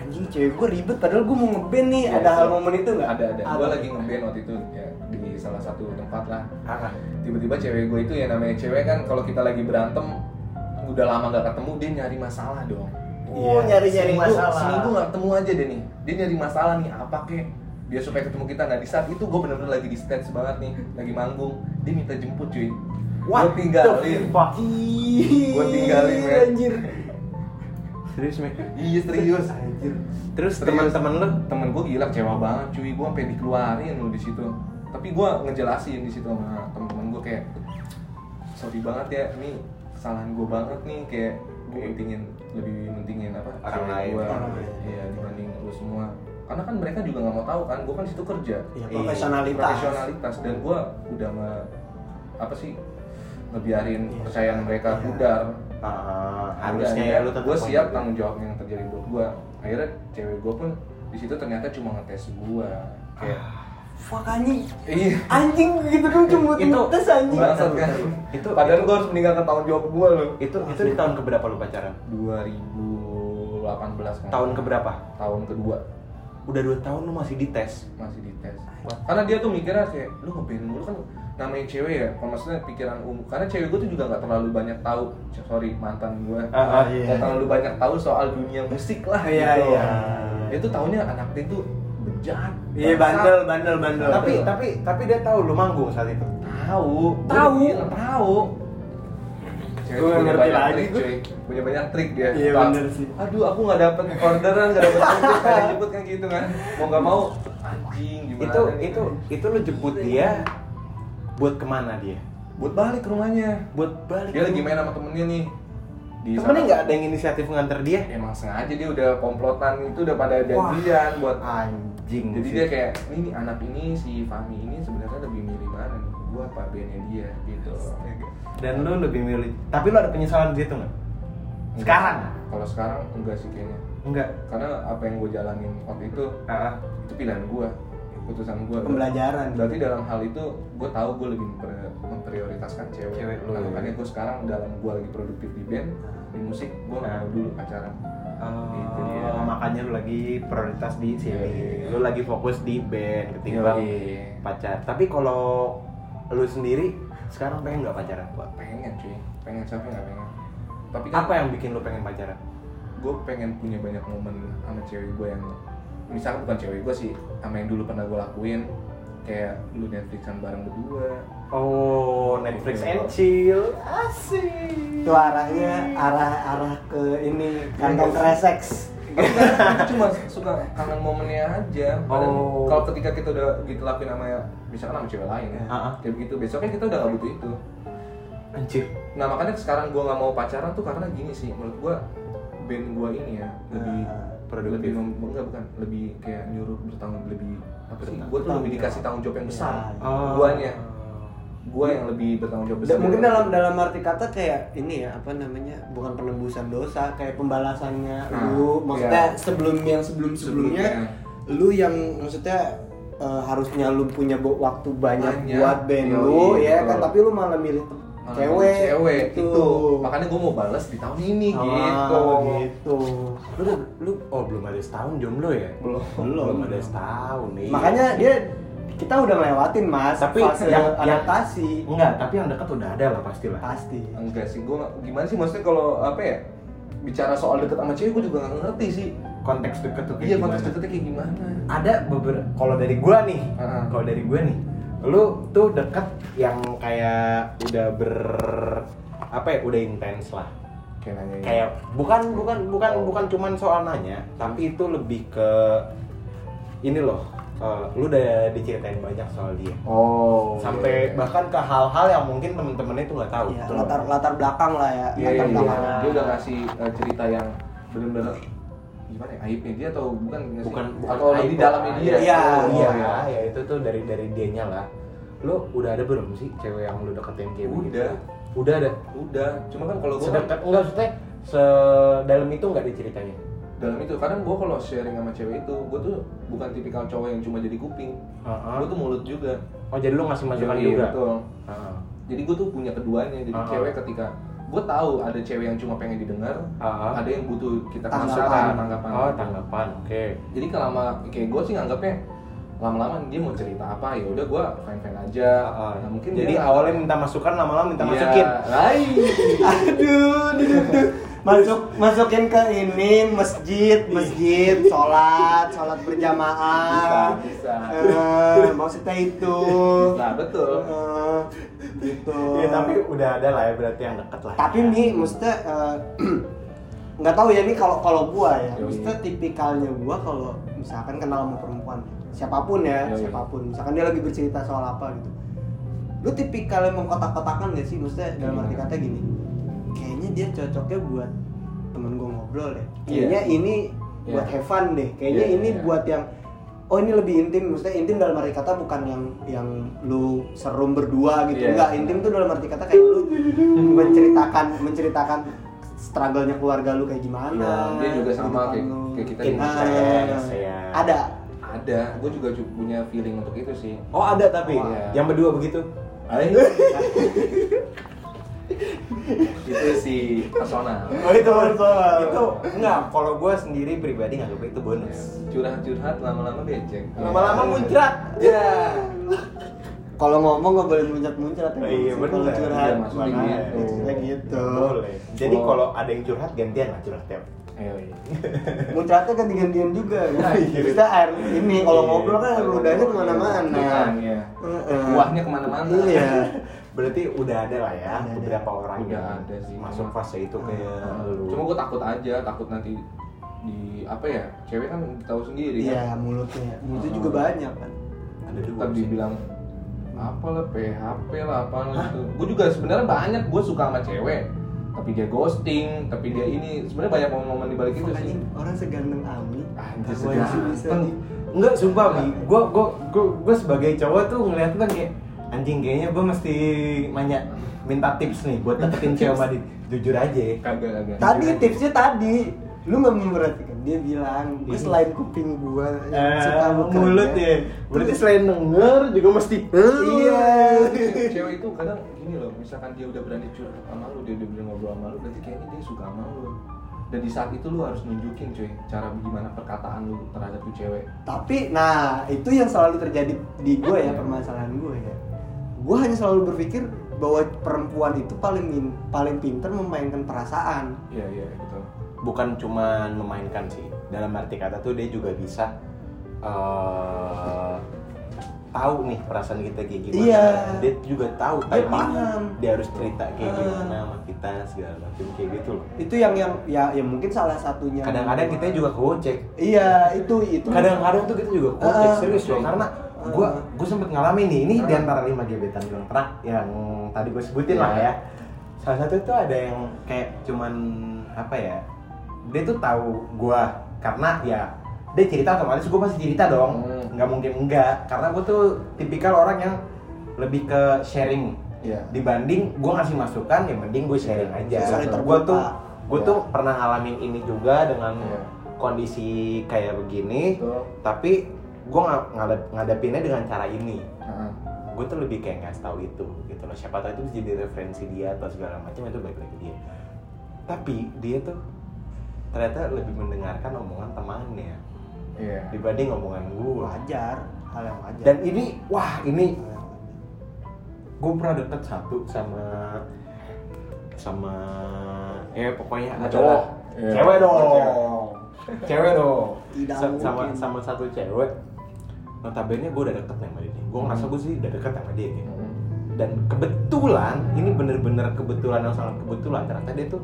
Speaker 2: anjing cewek gue ribet padahal gue mau ngeband nih
Speaker 1: Iya,
Speaker 2: ada
Speaker 1: iya.
Speaker 2: hal momen itu nggak
Speaker 1: ada ada gue
Speaker 2: Apa?
Speaker 1: lagi ngeband waktu itu ya di salah satu tempat lah
Speaker 4: Ah,
Speaker 1: tiba-tiba cewek gue itu ya namanya cewek kan kalau kita lagi berantem udah lama nggak ketemu dia nyari masalah dong
Speaker 3: Oh, nyari-nyari
Speaker 1: Iya, Seminggu-
Speaker 3: masalah.
Speaker 1: seminggu nggak ketemu aja deh nih dia nyari masalah nih apa kek dia supaya ketemu kita nah di saat itu gue bener-bener lagi di stage banget nih lagi manggung dia minta jemput cuy gue
Speaker 3: What
Speaker 1: tinggalin
Speaker 3: the fuck?
Speaker 1: gue tinggalin men
Speaker 2: anjir
Speaker 4: serius Mek.
Speaker 1: iya serius
Speaker 2: anjir
Speaker 4: Terus
Speaker 1: Serius.
Speaker 4: teman-teman lu
Speaker 1: temen gue gila kecewa banget cuy gue sampai dikeluarin lu di situ tapi gue ngejelasin di situ sama temen-temen gue kayak sorry banget ya ini kesalahan gue banget nih kayak gue pentingin lebih pentingin apa
Speaker 4: Orang
Speaker 1: cewek
Speaker 4: lain.
Speaker 1: gua.
Speaker 2: Orang lain.
Speaker 1: iya dibanding lu semua karena kan mereka juga nggak mau tahu kan gue kan di situ kerja
Speaker 2: ya,
Speaker 4: Iya.
Speaker 2: profesionalitas
Speaker 1: profesionalitas dan gue udah nge- apa sih ngebiarin
Speaker 2: Iya.
Speaker 1: kepercayaan mereka
Speaker 2: Iya.
Speaker 1: pudar
Speaker 4: Ah, harusnya ya lu tetap
Speaker 1: gue Iya, siap
Speaker 4: tang
Speaker 1: tanggung jawab yang terjadi buat gue akhirnya cewek gue pun di situ ternyata cuma ngetes gue kayak
Speaker 4: Ah.
Speaker 2: fuck anjing
Speaker 1: iya
Speaker 2: anjing gitu dong cuma
Speaker 4: Itu
Speaker 2: tes anjing
Speaker 1: bangsat kan itu
Speaker 4: Itu-
Speaker 1: padahal gue harus meninggalkan tanggung jawab gue loh
Speaker 4: itu itu di tahun keberapa lu pacaran
Speaker 1: 2018 kan
Speaker 4: tahun keberapa
Speaker 1: tahun kedua
Speaker 4: udah dua tahun lu masih dites
Speaker 1: masih dites karena dia tuh mikirnya kayak lu ngeband mulu kan namanya cewek ya kalau maksudnya pikiran umum karena cewek gue tuh juga nggak terlalu banyak tahu sorry mantan gue
Speaker 4: Ah, ah,
Speaker 2: iya.
Speaker 1: nggak terlalu banyak tahu soal dunia musik lah
Speaker 2: Iya,
Speaker 1: gitu
Speaker 2: iya.
Speaker 1: Dia tuh tahunya anak dia tuh bejat
Speaker 2: iya bandel bandel bandel
Speaker 4: tapi tapi tapi dia tahu lu manggung saat itu
Speaker 1: tahu
Speaker 2: Tahu.
Speaker 1: gila, tahu Cewek
Speaker 2: Gua
Speaker 1: punya
Speaker 2: ngerti
Speaker 1: banyak
Speaker 2: lagi
Speaker 1: trik,
Speaker 2: gua.
Speaker 1: cuy. punya banyak trik dia
Speaker 2: Iya,
Speaker 1: Pak,
Speaker 2: bener sih.
Speaker 1: aduh aku nggak dapet orderan nggak dapet jemput kayak jemput kan gitu kan mau nggak mau anjing gimana
Speaker 4: itu
Speaker 1: nih?
Speaker 4: itu itu lu jemput dia buat kemana dia
Speaker 1: buat balik ke rumahnya
Speaker 4: buat balik
Speaker 1: dia lagi main sama temennya nih di
Speaker 4: temennya
Speaker 1: sana.
Speaker 4: nggak ada yang inisiatif nganter dia
Speaker 1: emang sengaja dia udah komplotan itu udah pada janjian buat
Speaker 4: Ah, anjing
Speaker 1: jadi
Speaker 4: sih.
Speaker 1: dia kayak ini nih, anak ini si Fahmi ini sebenarnya lebih milih mana nih gua apa bandnya dia gitu
Speaker 4: dan lu lebih milih tapi lu ada penyesalan di situ nggak sekarang
Speaker 1: kalau sekarang enggak sih kayaknya
Speaker 4: enggak
Speaker 1: karena apa yang gue jalanin waktu itu
Speaker 4: ah
Speaker 1: itu pilihan gua keputusan gua
Speaker 2: pembelajaran
Speaker 1: berarti dalam hal itu gue tahu gue lebih memper- memprioritaskan cewek,
Speaker 4: Cewek lu,
Speaker 1: nah,
Speaker 4: ya.
Speaker 1: makanya gue sekarang dalam gue lagi produktif di band di musik gue nggak mau dulu pacaran
Speaker 4: Oh.
Speaker 1: Gitu dia.
Speaker 4: makanya lu lagi prioritas di sini
Speaker 1: Iya.
Speaker 4: lu lagi fokus di band ketimbang
Speaker 1: Yoi.
Speaker 4: pacar tapi kalau lu sendiri sekarang pengen nggak pacaran gua
Speaker 1: pengen cuy pengen siapa nggak pengen tapi kan
Speaker 4: apa ya? yang bikin lu pengen pacaran
Speaker 1: gue pengen punya banyak momen sama cewek gue yang misalnya bukan cewek gue sih sama yang dulu pernah gue lakuin kayak lu Netflixan bareng berdua
Speaker 4: oh Netflix and chill asik
Speaker 2: itu arahnya arah arah ke ini kantong
Speaker 1: Iya.
Speaker 2: kreseks
Speaker 1: cuma suka kangen momennya aja padahal
Speaker 4: Oh.
Speaker 1: kalau ketika kita udah gitu lakuin sama misalkan sama cewek lain ya
Speaker 4: Ha-ha.
Speaker 1: kayak begitu besoknya kita udah gak butuh itu
Speaker 4: anjir
Speaker 1: nah makanya sekarang gue nggak mau pacaran tuh karena gini sih menurut gue band gue ini ya lebih
Speaker 2: Ah,
Speaker 4: produktif.
Speaker 1: lebih mem- enggak bukan lebih kayak nyuruh bertanggung lebih apa sih
Speaker 4: Bertanggung
Speaker 1: gue tuh lebih
Speaker 2: jawab.
Speaker 1: dikasih tanggung jawab yang besar
Speaker 2: Ya.
Speaker 4: Oh.
Speaker 1: guanya gue yang lebih bertanggung jawab besar
Speaker 2: Da- mungkin dalam dalam arti kata kayak ini ya apa namanya bukan penembusan dosa kayak pembalasannya
Speaker 1: Nah,
Speaker 2: lu maksudnya
Speaker 1: iya.
Speaker 2: sebelum yang sebelum sebelumnya
Speaker 1: Sebelumnya.
Speaker 2: lu yang maksudnya eh, harusnya lu punya bo- waktu banyak,
Speaker 1: Banyak.
Speaker 2: buat band
Speaker 1: Yoi,
Speaker 2: lu ya
Speaker 1: betul.
Speaker 2: kan tapi lu malah milih tem-
Speaker 1: Malah
Speaker 2: cewek
Speaker 1: cewek
Speaker 2: gitu.
Speaker 1: itu makanya gue mau balas di tahun ini
Speaker 2: Ah,
Speaker 1: gitu
Speaker 2: gitu.
Speaker 4: lu udah- lu oh belum ada setahun jomblo ya
Speaker 2: Belum.
Speaker 4: belum ada setahun iya. nih
Speaker 2: makanya dia kita udah ngelewatin mas
Speaker 4: Tapi
Speaker 2: fase
Speaker 1: ya,
Speaker 4: yang- yang-
Speaker 2: adaptasi
Speaker 4: enggak tapi yang dekat udah ada lah pastilah
Speaker 2: pasti
Speaker 1: Hmm. enggak sih gue gimana sih maksudnya kalau apa ya bicara soal deket sama cewek gue juga nggak ngerti sih
Speaker 4: konteks deket tuh kayak
Speaker 1: iya
Speaker 4: gimana
Speaker 1: konteks deketnya kayak gimana
Speaker 4: ada beberapa kalau dari gua nih
Speaker 1: Heeh.
Speaker 4: kalau dari gua nih lu tuh deket yang kayak udah ber apa ya udah intens lah
Speaker 1: kayak nanya
Speaker 4: kayak bukan bukan bukan
Speaker 1: Oh.
Speaker 4: bukan cuman soal nanya tapi itu lebih ke ini loh eh, lu udah diceritain banyak soal dia
Speaker 1: oh
Speaker 4: sampai
Speaker 1: iya.
Speaker 4: bahkan ke hal-hal yang mungkin temen-temennya itu Iya, nggak tahu
Speaker 2: Ya,
Speaker 4: Betul.
Speaker 2: latar latar belakang lah ya
Speaker 1: Iya, iya,
Speaker 2: latar
Speaker 1: iya.
Speaker 2: belakang.
Speaker 1: dia udah ngasih uh, cerita yang benar-benar gimana ya, aibnya dia atau bukan nggak Iya sih?
Speaker 4: bukan bukan
Speaker 1: atau lebih
Speaker 4: aib,
Speaker 1: dalamnya dia
Speaker 4: iya
Speaker 1: Oh,
Speaker 4: iya
Speaker 1: iya.
Speaker 4: ya itu tuh dari dari dianya lah lo udah ada belum sih cewek yang lo deketin kayak
Speaker 1: Udah.
Speaker 4: begitu? udah ada
Speaker 1: udah cuma kan kalau gue
Speaker 4: sedekat enggak maksudnya sedalam itu nggak ada ceritanya
Speaker 1: dalam itu kadang gue kalau sharing sama cewek itu gue tuh bukan tipikal cowok yang cuma jadi kuping
Speaker 4: Heeh.
Speaker 1: gue tuh mulut juga
Speaker 4: oh jadi lo ngasih masukan
Speaker 1: Iya,
Speaker 4: juga Ah.
Speaker 1: betul.
Speaker 4: Heeh.
Speaker 1: jadi gue tuh punya keduanya jadi
Speaker 4: Ah.
Speaker 1: cewek ketika gue tahu ada cewek yang cuma pengen didengar
Speaker 4: Ah.
Speaker 1: ada yang butuh kita
Speaker 2: Tanggapan.
Speaker 1: kasih tanggapan
Speaker 4: oh tanggapan oke
Speaker 1: jadi kelama kayak gue sih nganggapnya lama-lama dia mau cerita apa ya udah gue fine fine aja
Speaker 4: Heeh.
Speaker 1: Nah, mungkin
Speaker 4: Ah, jadi
Speaker 1: dia-
Speaker 4: awalnya minta masukan lama-lama minta
Speaker 1: Iya,
Speaker 4: masukin
Speaker 1: Lai.
Speaker 2: aduh duh, duh. masuk masukin ke ini
Speaker 1: Iya.
Speaker 2: masjid masjid sholat sholat berjamaah
Speaker 1: Bisa, bisa.
Speaker 2: Eh, maksudnya itu
Speaker 1: nah betul
Speaker 2: Eh, gitu
Speaker 4: Iya tapi udah ada lah ya berarti yang deket lah.
Speaker 2: tapi nih maksudnya eh, nggak tahu ya nih kalau kalau gua ya
Speaker 1: Yoi.
Speaker 2: maksudnya tipikalnya gua kalau misalkan kenal sama perempuan siapapun ya
Speaker 1: Yoi.
Speaker 2: siapapun misalkan dia lagi bercerita soal apa gitu lu tipikalnya mengkotak-kotakan gak sih maksudnya dalam arti
Speaker 1: Iya.
Speaker 2: kata gini kayaknya dia cocoknya buat temen gua ngobrol deh kayaknya
Speaker 1: Iya.
Speaker 2: ini buat
Speaker 1: Iya.
Speaker 2: have fun deh kayaknya
Speaker 1: Iya,
Speaker 2: ini
Speaker 1: iya.
Speaker 2: buat yang oh ini lebih intim maksudnya intim dalam arti kata bukan yang yang lu serum berdua gitu
Speaker 1: Iya.
Speaker 2: enggak intim tuh dalam arti kata kayak lu menceritakan menceritakan struggle-nya keluarga lu kayak gimana
Speaker 1: Iya, dia juga
Speaker 2: kehidupan
Speaker 1: sama kayak-
Speaker 2: lu.
Speaker 1: kayak kita Iya.
Speaker 4: di
Speaker 2: Nah,
Speaker 4: Indonesia, ya.
Speaker 2: ada
Speaker 1: ada gue juga cu- punya feeling untuk itu sih
Speaker 4: Oh ada tapi
Speaker 1: Oh, iya.
Speaker 4: yang berdua begitu.
Speaker 1: Ayo. itu si personal
Speaker 4: Oh itu itu enggak kalau gue sendiri pribadi nggak itu bonus.
Speaker 1: curhat-curhat lama-lama becek
Speaker 4: Lama-lama
Speaker 1: Ya.
Speaker 4: muncrat.
Speaker 1: ya
Speaker 2: kalau ngomong nggak boleh muncrat-muncrat ya
Speaker 4: Oh, iya,
Speaker 2: Kalau
Speaker 4: bener.
Speaker 2: curhat
Speaker 1: Iya, maksudnya
Speaker 2: makanya
Speaker 1: gitu.
Speaker 2: maksudnya gitu
Speaker 4: Boleh. Jadi
Speaker 1: Oh.
Speaker 4: kalau ada yang curhat gantian lah curhatnya.
Speaker 1: ayo iya.
Speaker 2: muncratnya ganti-gantian juga
Speaker 4: Nah,
Speaker 2: kan
Speaker 4: iya.
Speaker 2: kita air ini kalau
Speaker 4: Iya.
Speaker 2: ngobrol kan
Speaker 1: Kalau
Speaker 2: ludahnya
Speaker 1: ngobrol,
Speaker 2: kemana-mana
Speaker 1: Bukannya.
Speaker 2: Heeh.
Speaker 1: Buahnya kemana-mana.
Speaker 2: iya
Speaker 4: Berarti udah ada lah ya
Speaker 2: Ada, ada.
Speaker 4: beberapa orang
Speaker 1: Udah
Speaker 4: yang
Speaker 1: ada sih.
Speaker 4: masuk fase itu kayak lu.
Speaker 1: cuma gue takut aja takut nanti di apa ya cewek kan tahu sendiri
Speaker 2: iya
Speaker 1: kan
Speaker 2: mulutnya mulutnya
Speaker 1: Heeh.
Speaker 2: juga banyak kan
Speaker 4: ada dua.
Speaker 1: tetap dibilang apa lah PHP lah apa lah gitu gue juga sebenarnya banyak gue suka sama cewek tapi dia ghosting tapi dia ini sebenarnya banyak momen-momen di balik itu sih
Speaker 2: Anjing, orang seganteng Ami
Speaker 1: Anjir,
Speaker 2: tahu aja bisa
Speaker 1: seganteng.
Speaker 2: di-
Speaker 4: Enggak sumpah Mi, gue gua, gua, gua sebagai cowok tuh ngeliat kan kayak anjing kayaknya gue mesti nanya minta tips nih buat deketin cewek Eh, Madin. Jujur aja.
Speaker 1: kagak kagak
Speaker 2: Tadi tipsnya tadi, lu nggak memperhatikan dia bilang, gue
Speaker 4: Iya.
Speaker 2: selain kuping gua yang
Speaker 4: Eh,
Speaker 2: suka bekerja,
Speaker 4: mulut ya. Berarti selain denger juga mesti "Eh."
Speaker 2: Iya.
Speaker 1: cewek itu kadang gini loh misalkan dia udah berani curhat sama lu dia udah berani ngobrol sama lu berarti kayaknya dia suka sama lu dan di saat itu lu harus nunjukin cuy cara gimana perkataan lu terhadap tuh cewek
Speaker 2: Tapi, nah itu yang selalu terjadi di gue ya permasalahan gue ya. Gue hanya selalu berpikir bahwa perempuan itu paling min- paling pinter memainkan perasaan.
Speaker 1: iya iya gitu
Speaker 4: bukan cuman memainkan sih. Dalam arti kata tuh dia juga bisa eh tahu nih perasaan kita kayak gimana.
Speaker 2: Iya.
Speaker 4: Dia juga tahu
Speaker 2: Dia
Speaker 4: timing.
Speaker 2: paham.
Speaker 4: Dia harus cerita kayak
Speaker 2: Eh.
Speaker 4: gimana sama kita segala macam kayak gitu loh.
Speaker 2: Itu yang yang ya ya mungkin salah satunya.
Speaker 4: Kadang-kadang kita juga kocek.
Speaker 2: Iya itu itu.
Speaker 4: kadang-kadang tuh kita juga kocek
Speaker 2: Ah.
Speaker 4: serius loh karena gua gua sempet ngalamin nih ini
Speaker 1: Ah.
Speaker 4: di antara lima gebetan gue yang pernah yang tadi gue sebutin lah
Speaker 1: Iya.
Speaker 4: ya salah satu tuh ada yang kayak cuman apa ya dia tuh tahu gua karena ya dia cerita otomatis gua pasti cerita dong
Speaker 1: Hmm.
Speaker 4: nggak mungkin enggak karena gua tuh tipikal orang yang lebih ke sharing
Speaker 1: Iya.
Speaker 4: dibanding gua ngasih masukan ya mending gue sharing aja
Speaker 2: Iya, saling
Speaker 4: gue tuh
Speaker 2: terbuka.
Speaker 4: gue
Speaker 1: Iya.
Speaker 4: tuh pernah ngalamin ini juga dengan
Speaker 1: Iya.
Speaker 4: kondisi kayak begini
Speaker 1: Betul.
Speaker 4: tapi gue ngadapinnya dengan cara ini
Speaker 1: Nah,
Speaker 4: gue tuh lebih kayak nggak tahu itu gitu loh siapa tahu itu bisa jadi referensi dia atau segala macam itu baik lagi dia tapi dia tuh ternyata lebih mendengarkan omongan temannya
Speaker 1: iya
Speaker 4: dibanding omongan gue
Speaker 2: wajar hal yang wajar.
Speaker 4: dan ini wah ini
Speaker 2: Hal yang wajar.
Speaker 4: gue pernah deket satu sama sama ya pokoknya
Speaker 1: Sama
Speaker 4: ada
Speaker 1: cowok.
Speaker 4: lah. cewek
Speaker 1: Iya.
Speaker 4: dong
Speaker 1: Cewek.
Speaker 4: cewek dong
Speaker 2: Tidak
Speaker 4: Oh. Sa- sama
Speaker 2: mungkin.
Speaker 4: sama satu cewek notabene gue udah deket sama dia gue ngerasa gue sih udah deket sama dia ya. dan kebetulan ini bener-bener kebetulan yang sangat kebetulan ternyata dia tuh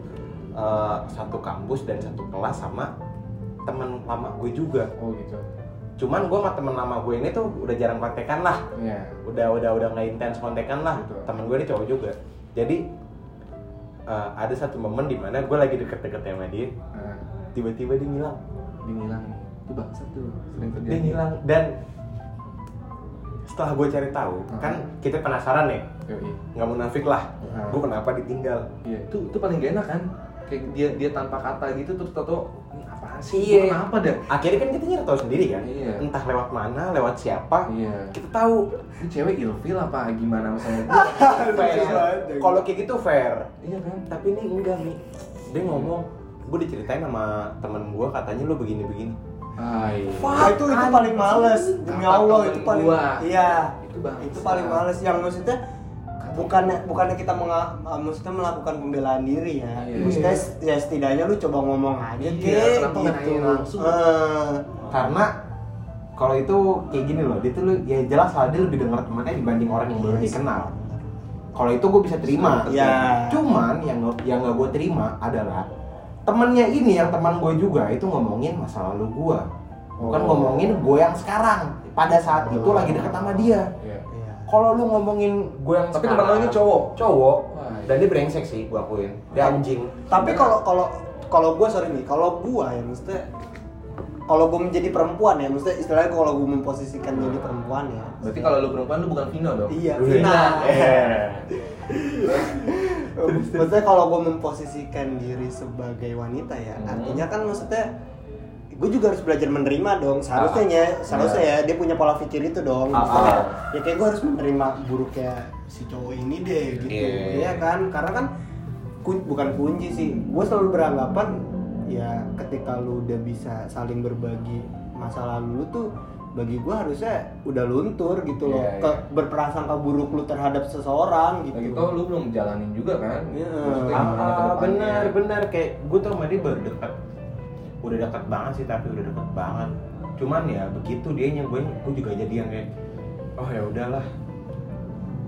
Speaker 4: eh, satu kampus dan satu kelas sama teman lama gue juga
Speaker 1: oh gitu
Speaker 4: cuman gue sama teman lama gue ini tuh udah jarang kontekan lah
Speaker 1: iya
Speaker 4: udah udah udah nggak intens kontekan lah
Speaker 1: Betul.
Speaker 4: temen gue ini cowok juga jadi eh, ada satu momen dimana gue lagi deket-deket sama dia
Speaker 1: nah,
Speaker 4: tiba-tiba dia ngilang
Speaker 1: dia ngilang nih itu bangsa tuh sering terjadi
Speaker 4: dia ngilang dan setelah gue cari tahu
Speaker 1: Hmm.
Speaker 4: kan kita penasaran ya
Speaker 1: Yoi.
Speaker 4: nggak munafik lah
Speaker 1: Hmm.
Speaker 4: gue kenapa ditinggal
Speaker 1: Iya, itu itu paling gak enak kan? Kayak dia dia tanpa kata gitu terus tato ini apaan sih?
Speaker 2: Iya.
Speaker 1: Gua Kenapa dah?
Speaker 4: akhirnya kan kita nyari tahu sendiri kan
Speaker 1: Iya.
Speaker 4: entah lewat mana lewat siapa
Speaker 1: Iya.
Speaker 4: kita tahu
Speaker 1: Ini cewek ilfil apa gimana misalnya gua?
Speaker 4: fair
Speaker 1: ya.
Speaker 4: kalau kayak gitu fair
Speaker 1: iya kan?
Speaker 4: tapi ini enggak mi dia ngomong gue diceritain sama temen gue katanya lu begini begini
Speaker 1: Ah, iya.
Speaker 2: Wah Nah, itu itu paling males demi
Speaker 1: Kata
Speaker 2: Allah
Speaker 1: temen
Speaker 2: itu paling
Speaker 1: gua.
Speaker 2: iya
Speaker 1: Itu bangsa.
Speaker 2: itu paling males yang maksudnya bukannya bukannya kita menga, eh, maksudnya melakukan pembelaan diri ya
Speaker 1: Iya.
Speaker 2: maksudnya ya setidaknya lu coba ngomong aja
Speaker 1: Iya,
Speaker 2: Kek,
Speaker 1: kenapa nggak
Speaker 2: gitu
Speaker 1: nanya langsung?
Speaker 2: Eh,
Speaker 1: Ah.
Speaker 4: karena kalau itu kayak gini loh dia tuh lu- ya jelas lah dia lebih denger temannya dibanding orang yang baru
Speaker 2: Yes.
Speaker 4: dikenal kalau itu gue bisa terima
Speaker 2: Ya.
Speaker 4: cuman yang nggak- yang nggak gue terima adalah temennya ini yang teman gue juga itu ngomongin masa lalu gue bukan
Speaker 1: Oh.
Speaker 4: ngomongin gue yang sekarang pada saat itu lagi deket sama dia
Speaker 1: Iya.
Speaker 2: iya.
Speaker 4: kalau lu ngomongin gue yang
Speaker 1: Tapi
Speaker 4: sekarang-
Speaker 1: teman lu ini cowok?
Speaker 4: cowok
Speaker 1: Wah.
Speaker 4: dan dia brengsek sih gue akuin dia anjing
Speaker 2: tapi kalau kalau kalau gue sorry nih kalau gue ya maksudnya kalau gue menjadi perempuan ya maksudnya istilahnya kalau gue memposisikan jadi perempuan ya
Speaker 1: Berarti kalau lu perempuan lu bukan Vino dong?
Speaker 2: iya
Speaker 4: Wih.
Speaker 1: Nah.
Speaker 2: final
Speaker 4: Eh.
Speaker 2: maksudnya kalau gue memposisikan diri sebagai wanita ya
Speaker 1: Hmm.
Speaker 2: artinya kan maksudnya gue juga harus belajar menerima dong seharusnya ya seharusnya ya dia punya pola pikir itu dong
Speaker 4: Ah,
Speaker 2: Maksudnya,
Speaker 4: ah.
Speaker 2: ya kayak gue harus menerima buruknya si cowok ini deh gitu
Speaker 4: Iya.
Speaker 2: ya kan karena kan kun- bukan kunci sih gue selalu beranggapan ya ketika lu udah bisa saling berbagi masa lalu lu tuh bagi gue harusnya udah luntur gitu loh
Speaker 1: Iya,
Speaker 2: ke
Speaker 1: iya.
Speaker 2: berprasangka buruk lu terhadap seseorang gitu
Speaker 1: Lagi tau lu belum jalanin juga kan?
Speaker 2: Iya.
Speaker 1: Maksudnya
Speaker 4: Ah,
Speaker 1: gimana ke
Speaker 4: ah,
Speaker 1: depannya?
Speaker 4: benar benar kayak gue tuh sama dia baru deket udah deket banget sih tapi udah deket banget cuman ya begitu dia gue gue juga jadi yang kayak oh ya udahlah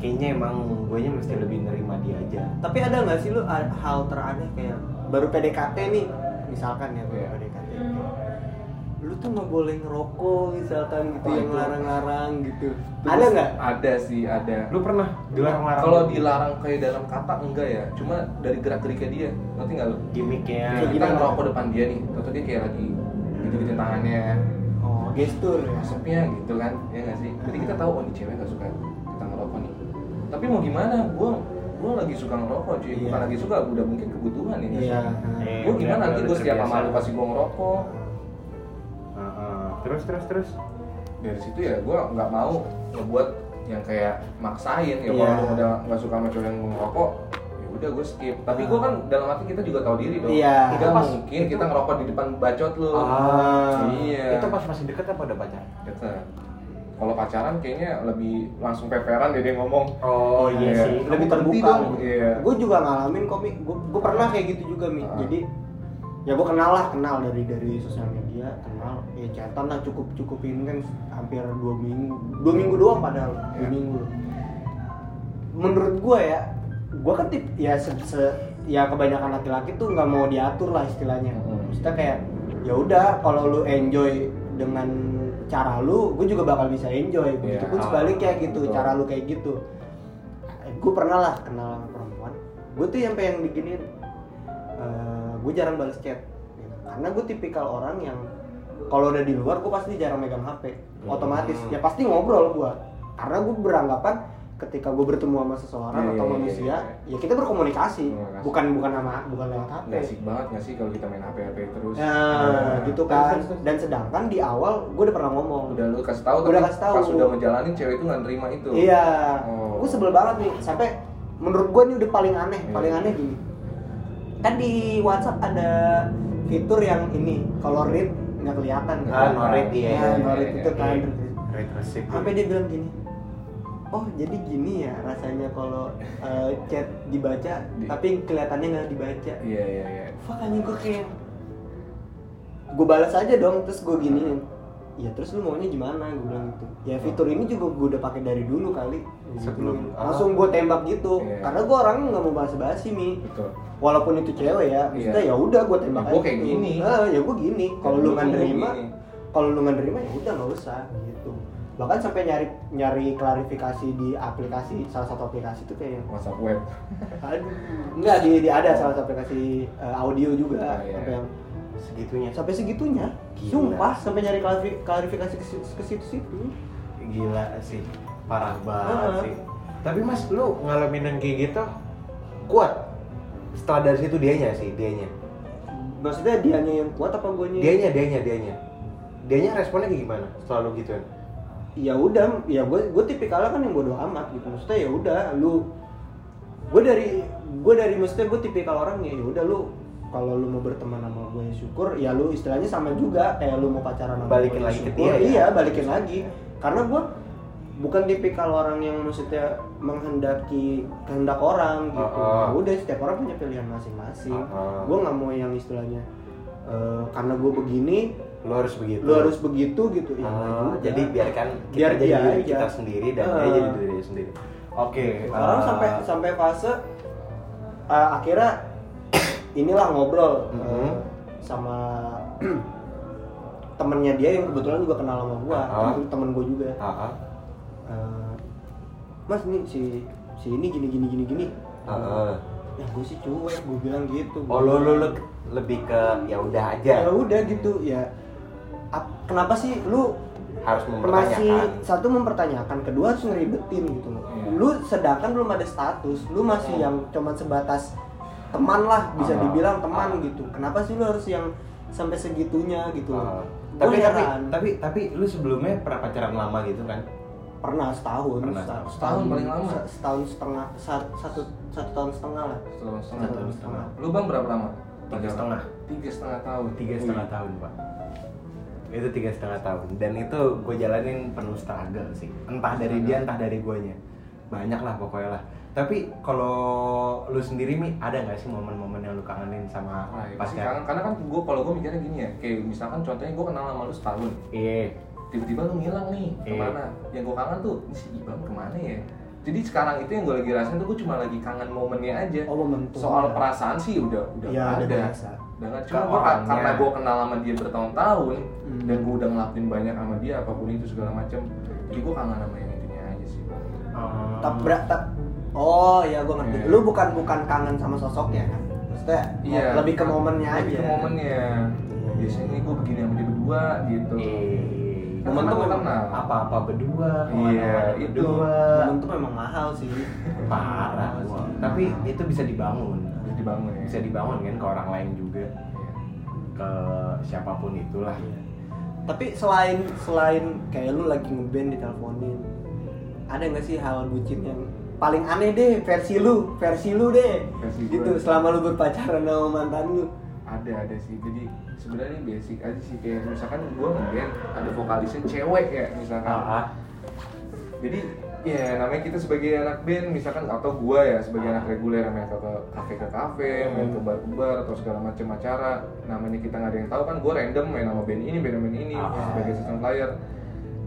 Speaker 4: kayaknya emang gue nya mesti lebih nerima dia aja
Speaker 2: Tapi ada nggak sih lu a- hal teraneh kayak baru PDKT nih, misalkan ya baru
Speaker 1: Iya.
Speaker 2: PDKT. Lu tuh nggak boleh ngerokok misalkan gitu
Speaker 1: Wah,
Speaker 2: yang
Speaker 1: itu-
Speaker 2: larang-larang gitu.
Speaker 1: Terus
Speaker 2: ada nggak?
Speaker 1: Ada sih, ada.
Speaker 4: lu pernah dilarang larang gitu.
Speaker 1: Kalau dilarang kayak dalam kata enggak ya, cuma dari gerak geriknya dia. Ngerti nggak lu?
Speaker 4: gimmicknya
Speaker 1: Kayak kita ngerokok depan dia nih, contoh dia kayak lagi gitu-gitu tangannya,
Speaker 2: Oh, gestur ya.
Speaker 1: asapnya gitu kan, ya nggak sih? Jadi kita tahu oh ini cewek nggak suka kita ngerokok nih. Tapi mau gimana? Gua gua lagi suka ngerokok cuy, bukan
Speaker 2: Iya.
Speaker 1: lagi suka, udah mungkin kebutuhan ini.
Speaker 2: Iya.
Speaker 4: Eh,
Speaker 1: Gua gimana
Speaker 4: udah-
Speaker 1: nanti
Speaker 4: udah
Speaker 1: gua setiap sama
Speaker 4: terbiasa.
Speaker 1: lu pasti gua ngerokok.
Speaker 4: Ah, ah. terus terus terus
Speaker 1: Dari situ ya gua nggak mau ngebuat yang kayak maksain ya
Speaker 2: Iya.
Speaker 1: kalau lu udah nggak suka sama cewek yang ngerokok ya udah gue skip tapi gua kan dalam hati kita juga tahu diri dong
Speaker 2: Ah. Iya. Ah.
Speaker 1: Nggak
Speaker 4: Itu pas-
Speaker 1: mungkin
Speaker 4: itu-
Speaker 1: kita ngerokok di depan bacot lu iya.
Speaker 4: itu pas masih deket apa udah pacaran
Speaker 1: Dekat. Ya kan. Kalau pacaran kayaknya lebih langsung peperan deh dia ngomong.
Speaker 4: oh
Speaker 1: iya sih.
Speaker 2: lebih
Speaker 1: Berhenti
Speaker 2: terbuka.
Speaker 1: dong. Iya.
Speaker 2: Gue juga ngalamin kok, Mi. Gue gue pernah kayak gitu juga, Mi.
Speaker 1: Ah.
Speaker 2: Jadi ya gue kenal lah, kenal dari dari sosial media, kenal. Ya catatan lah cukup cukupin kan hampir dua minggu, dua minggu doang padahal, dua
Speaker 1: Iya.
Speaker 2: minggu. Menurut gue ya, gue kan tip, ya se, se- ya kebanyakan laki-laki tuh nggak mau diatur lah istilahnya.
Speaker 1: Mm.
Speaker 2: Hmm. Maksudnya kayak ya udah kalau lu enjoy dengan cara lu, gue juga bakal bisa enjoy.
Speaker 1: Iya.
Speaker 2: Begitupun sebaliknya gitu,
Speaker 1: Betul.
Speaker 2: cara lu kayak gitu gue pernah lah kenal sama perempuan gue tuh yang pengen diginiin gue jarang balas chat gitu. karena gue tipikal orang yang kalau udah di luar gue pasti jarang megang hp otomatis
Speaker 4: Hmm.
Speaker 2: ya pasti ngobrol gue karena gue beranggapan ketika gue bertemu sama seseorang
Speaker 1: Iya,
Speaker 2: atau
Speaker 1: iya, iya,
Speaker 2: manusia
Speaker 1: iya.
Speaker 2: ya kita berkomunikasi
Speaker 1: Komunikasi. Nah,
Speaker 2: bukan bukan sama bukan lewat hp
Speaker 1: Nggak asik banget nggak sih kalau kita main HP HP terus. Ah.
Speaker 2: nah gitu kan
Speaker 4: Terus, terus, terus.
Speaker 2: dan sedangkan di awal gue udah pernah ngomong
Speaker 1: Udah lu kasih tahu
Speaker 2: Udah
Speaker 1: tapi
Speaker 2: kasih tahu.
Speaker 1: pas udah ngejalanin cewek itu nggak nerima itu.
Speaker 2: Iya.
Speaker 1: Oh.
Speaker 2: Gue sebel banget nih sampai menurut gue ini udah paling aneh,
Speaker 1: Iya.
Speaker 2: paling aneh gini. Kan di WhatsApp ada fitur yang ini, kalau read nggak kelihatan. kan?
Speaker 4: Ah, no read, iya,
Speaker 2: Iya,
Speaker 4: iya,
Speaker 2: no
Speaker 1: iya,
Speaker 2: read
Speaker 1: iya,
Speaker 2: itu kan.
Speaker 4: iya. Rate resip
Speaker 2: Sampai dia bilang gini. Oh, jadi gini ya rasanya kalau eh, chat dibaca
Speaker 1: Di-
Speaker 2: tapi kelihatannya nggak dibaca.
Speaker 1: Iya iya iya.
Speaker 2: Fuck anjing gue kayak gue balas aja dong terus gue giniin ya terus lu maunya gimana gue bilang gitu ya fitur ini juga gue udah pakai dari dulu kali Gitu.
Speaker 4: Sebelum-
Speaker 2: langsung gue tembak gitu
Speaker 1: Iya.
Speaker 2: karena gue orangnya nggak mau bahas basi mi
Speaker 1: Betul.
Speaker 2: walaupun itu cewek ya maksudnya
Speaker 1: Iya.
Speaker 2: ya udah gue tembak
Speaker 1: Ya, gua kayak
Speaker 2: gitu.
Speaker 1: gini.
Speaker 2: Eh, ya gue gini kalau
Speaker 1: Ya,
Speaker 2: lu
Speaker 1: gua
Speaker 2: nggak
Speaker 1: ngomong
Speaker 2: nerima
Speaker 1: gini.
Speaker 2: kalau lu nggak nerima ya udah nggak usah gitu bahkan sampai nyari nyari klarifikasi di aplikasi salah satu aplikasi itu kayak
Speaker 1: WhatsApp web.
Speaker 2: aduh nggak di, di ada salah satu aplikasi eh, audio juga
Speaker 1: Ah, iya.
Speaker 2: apa yang
Speaker 4: segitunya
Speaker 2: sampai segitunya
Speaker 4: Gila.
Speaker 2: sumpah sampai nyari klarifi- klarifikasi ke, situ- ke situ situ
Speaker 4: gila sih parah banget
Speaker 2: Heeh.
Speaker 4: sih tapi mas lu ngalamin yang kayak gitu kuat setelah dari situ dianya sih dianya
Speaker 2: maksudnya dianya yang kuat apa guanya yang-
Speaker 4: dianya dianya dianya dianya responnya kayak gimana selalu gitu kan
Speaker 2: ya udah ya gue gue tipikalnya kan yang bodoh amat gitu maksudnya ya udah lu gue dari gue dari maksudnya gue tipikal orang ya udah lu kalau lu mau berteman sama gue ya syukur ya lu istilahnya sama juga kayak lu mau pacaran sama
Speaker 4: Balikin
Speaker 2: gue, ya
Speaker 4: lagi ke
Speaker 2: syukur.
Speaker 4: dia ya.
Speaker 2: iya balikin lagi karena gue bukan tipikal orang yang maksudnya menghendaki kehendak orang gitu
Speaker 4: Ah, ah.
Speaker 2: Ya udah setiap orang punya pilihan masing-masing
Speaker 4: Ah, ah.
Speaker 2: gue nggak mau yang istilahnya eh, karena gue begini
Speaker 4: lu harus begitu
Speaker 2: lu harus begitu gitu ya nggak
Speaker 4: Ah,
Speaker 2: juga.
Speaker 4: jadi biarkan kita
Speaker 2: Biar
Speaker 4: jadi
Speaker 2: dia
Speaker 4: diri
Speaker 2: aja.
Speaker 4: kita sendiri dan dia
Speaker 2: Ah.
Speaker 4: jadi diri dia sendiri oke
Speaker 2: orang
Speaker 4: ah,
Speaker 2: sampai sampai fase eh, akhirnya inilah ngobrol eh,
Speaker 4: Mhm.
Speaker 2: sama temennya dia yang kebetulan juga kenal sama gua
Speaker 4: Ah.
Speaker 2: temen- temen gua juga
Speaker 4: ah, ah.
Speaker 2: Eh, mas ini si si ini gini gini gini gini
Speaker 4: Ah, ah.
Speaker 2: ya gue sih cuek gue bilang gitu
Speaker 4: oh lu, lu, lu lebih ke ya udah aja
Speaker 2: ya udah gitu ya ap- kenapa sih lu
Speaker 4: harus
Speaker 2: masih
Speaker 4: mempertanyakan
Speaker 2: satu mempertanyakan kedua harus ngeribetin gitu loh
Speaker 1: Iya.
Speaker 2: lu sedangkan belum ada status lu masih yang cuman sebatas teman lah bisa
Speaker 4: Ah.
Speaker 2: dibilang teman
Speaker 4: Ah.
Speaker 2: gitu kenapa sih lu harus yang sampai segitunya gitu
Speaker 4: Ah.
Speaker 2: loh Gua
Speaker 4: tapi tapi
Speaker 2: heran.
Speaker 4: tapi tapi lu sebelumnya pernah pacaran lama gitu kan
Speaker 2: pernah setahun
Speaker 4: Pernah.
Speaker 2: sta-
Speaker 1: Setahun paling lama.
Speaker 2: se- setahun setengah sa- satu satu tahun setengah lah
Speaker 1: Setahun setengah.
Speaker 2: satu tahun setengah
Speaker 1: Lu bang berapa lama?
Speaker 4: Tiga setengah.
Speaker 1: Tiga setengah tahun.
Speaker 4: tiga setengah tahun pak itu tiga setengah tahun dan itu gue jalanin penuh struggle sih entah dari dia entah dari guanya banyak lah pokoknya lah tapi kalau lu sendiri mi ada nggak sih momen-momen yang lu kangenin sama
Speaker 1: Nah, ya pasti
Speaker 4: pacar
Speaker 1: kangen. Karena kan gue kalau gue mikirnya gini ya, kayak misalkan contohnya gue kenal sama lu setahun,
Speaker 4: iya
Speaker 1: tiba-tiba lu ngilang nih
Speaker 4: Iya.
Speaker 1: kemana? Yang gue kangen tuh ini si Ibang kemana ya? Jadi sekarang itu yang gue lagi rasain tuh gue cuma lagi kangen momennya aja.
Speaker 2: oh momentum
Speaker 1: Soal perasaan sih udah udah
Speaker 2: ya
Speaker 1: nggak
Speaker 2: ada
Speaker 1: ada. Hmm.
Speaker 2: biasa
Speaker 1: Dengan
Speaker 4: Iya, Ke
Speaker 1: cuma gua,
Speaker 4: orangnya.
Speaker 1: karena gue kenal sama dia bertahun-tahun
Speaker 2: Hmm.
Speaker 1: dan gue udah ngelakuin banyak sama dia apapun itu segala macam. Jadi gue kangen sama yang itunya aja sih.
Speaker 2: tak berat tak oh ya gue ngerti
Speaker 1: Iya.
Speaker 2: lu bukan bukan kangen sama sosoknya kan maksudnya
Speaker 1: Iya.
Speaker 2: lebih ke momennya aja Iya.
Speaker 1: Lebih ke Iya. momennya. Biasanya gue begini sama dia berdua gitu.
Speaker 4: Eh,
Speaker 1: Momen tuh
Speaker 4: apa-
Speaker 1: kenal.
Speaker 4: apa-apa berdua,
Speaker 1: Iya,
Speaker 4: kemana-mana
Speaker 1: itu.
Speaker 4: berdua,
Speaker 2: momentum memang mahal sih
Speaker 4: parah.
Speaker 2: Mahal
Speaker 4: gua.
Speaker 2: sih.
Speaker 4: Tapi itu bisa dibangun,
Speaker 1: Terus dibangun ya.
Speaker 4: bisa dibangun kan ke orang lain juga,
Speaker 1: Iya.
Speaker 4: ke siapapun itulah.
Speaker 2: tapi selain selain kayak lu lagi ngeband diteleponin ada nggak sih hal bucin yang paling aneh deh versi lu versi lu deh
Speaker 1: Versi gua.
Speaker 2: gitu selama lu berpacaran sama mantan lu
Speaker 1: ada ada sih jadi sebenarnya ini basic aja sih kayak misalkan gue ngeband ada vokalisnya cewek ya misalkan
Speaker 4: Ah, ah.
Speaker 1: jadi ya namanya kita sebagai anak band misalkan atau gue ya sebagai anak reguler main ke ke kafe ke kafe main ke bar ke bar atau segala macam acara namanya kita nggak ada yang tahu kan gue random main sama band ini band band ini
Speaker 4: Ah.
Speaker 1: sebagai season player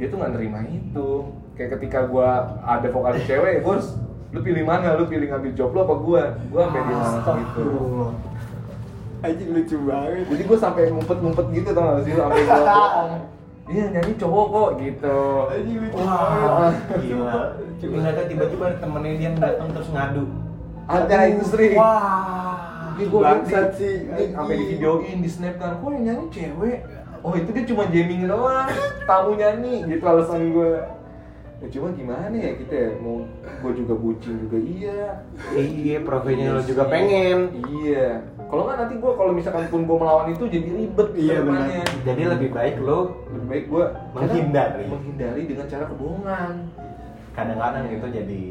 Speaker 1: dia tuh nggak nerima itu kayak ketika gue ada vokalis cewek gue harus lu pilih mana lu pilih ngambil job lu apa gue gue ambil dia gitu
Speaker 2: aja lucu banget
Speaker 1: jadi gue sampai ngumpet-ngumpet gitu tau gak sih lu sampai gue bohong iya nyanyi cowok kok gitu
Speaker 2: Anjing, lucu
Speaker 4: Wah,
Speaker 2: banget.
Speaker 4: gila. Cuma nggak tahu tiba-tiba ada temennya dia yang datang terus ngadu.
Speaker 1: ada itu sering
Speaker 4: Wah,
Speaker 1: ini gue
Speaker 2: bangsat sih,
Speaker 1: ini sampai di
Speaker 2: anjing.
Speaker 1: videoin di snapkan kok yang nyanyi cewek oh itu dia cuma jamming doang tamu nyanyi gitu alasan gue ya cuma gimana ya kita ya mau gue juga bucin juga iya
Speaker 4: iya profesional
Speaker 1: Iya
Speaker 4: juga
Speaker 1: sih.
Speaker 4: pengen.
Speaker 1: iya kalau nggak nanti gue kalau misalkan pun gue melawan itu jadi ribet
Speaker 2: Iya, benar.
Speaker 1: kedepannya.
Speaker 4: Jadi lebih baik lo
Speaker 1: lebih baik gue
Speaker 4: Menghindari.
Speaker 1: menghindari dengan cara kebohongan
Speaker 4: kadang-kadang itu jadi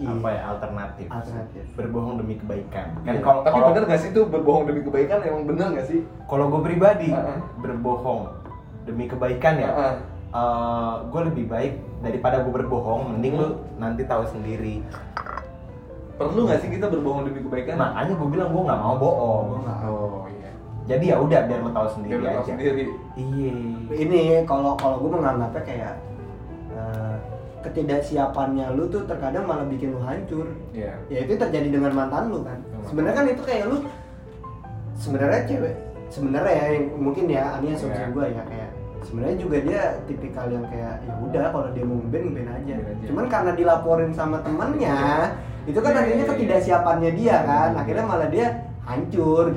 Speaker 2: Iya.
Speaker 4: apa ya alternatif.
Speaker 2: Alternatif.
Speaker 4: Berbohong demi kebaikan. Kan
Speaker 1: Iya.
Speaker 4: kalau
Speaker 1: tapi
Speaker 4: kalau-
Speaker 1: bener gak sih itu berbohong demi kebaikan emang bener gak sih?
Speaker 4: kalau gue pribadi
Speaker 1: Heeh.
Speaker 4: berbohong demi kebaikan ya.
Speaker 1: Heeh.
Speaker 4: gue lebih baik daripada gue berbohong, mending lu nanti tahu sendiri.
Speaker 1: Perlu gak sih kita berbohong demi kebaikan?
Speaker 4: Makanya gue bilang gue nggak mau bohong.
Speaker 1: Nah. Oh iya.
Speaker 4: Jadi ya udah biar lo tahu sendiri
Speaker 1: Biar lo tahu
Speaker 4: aja.
Speaker 1: sendiri.
Speaker 4: Iya.
Speaker 2: ini kalau kalau gue menganggapnya kayak eh, ketidaksiapannya lu tuh terkadang malah bikin lu hancur
Speaker 1: Iya.
Speaker 2: ya itu terjadi dengan mantan lu kan sebenarnya kan itu kayak lu sebenarnya cewek sebenarnya ya yang- mungkin ya ini asumsi
Speaker 1: Iya.
Speaker 2: gua ya kayak sebenarnya juga dia tipikal yang kayak ya udah kalau dia mau ngeband ngeband aja
Speaker 1: Ngeband aja.
Speaker 2: cuman karena dilaporin sama temennya itu kan
Speaker 1: Iya,
Speaker 2: akhirnya
Speaker 1: iya, iya.
Speaker 2: ketidaksiapannya dia kan akhirnya malah dia hancur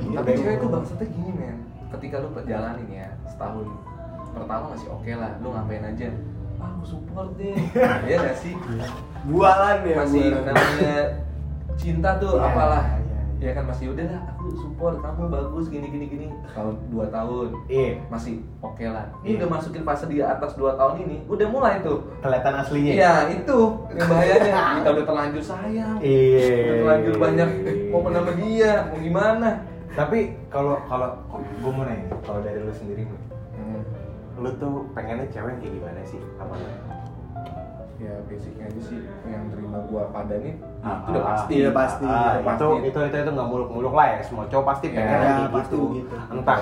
Speaker 4: Iya,
Speaker 2: gitu
Speaker 1: Tapi cewek itu bangsatnya gini men. Ketika lu jalanin ya setahun pertama masih oke lah, lu ngapain aja. ah gue support deh ya gak sih
Speaker 2: bualan ya
Speaker 1: masih
Speaker 2: bualan.
Speaker 1: namanya cinta tuh
Speaker 4: Iya,
Speaker 1: apalah
Speaker 4: iya,
Speaker 1: ya kan masih udah lah aku support kamu bagus gini gini gini tahun dua tahun
Speaker 4: Iya,
Speaker 1: masih oke lah ini udah masukin fase di atas dua tahun ini udah mulai tuh
Speaker 4: kelihatan aslinya.
Speaker 1: Iya itu yang bahayanya kita udah terlanjur sayang,
Speaker 4: Iya.
Speaker 1: udah terlanjur banyak momen sama dia, mau gimana?
Speaker 4: Tapi kalau kalau gue mau nanya, kalau dari lu sendiri, Bro,
Speaker 1: Hmm,
Speaker 4: lu tuh pengennya cewek yang kayak gimana sih? Apa lu?
Speaker 1: ya basicnya aja sih yang terima gua padanya
Speaker 4: Ah,
Speaker 1: itu udah pasti.
Speaker 2: iya, pasti.
Speaker 4: Ah,
Speaker 1: Udah
Speaker 4: itu, itu itu itu nggak muluk-muluk lah ya. Semua cowok pasti
Speaker 1: Iya,
Speaker 4: pengen kayak
Speaker 2: pasti
Speaker 4: gitu.
Speaker 2: gitu.
Speaker 4: Entah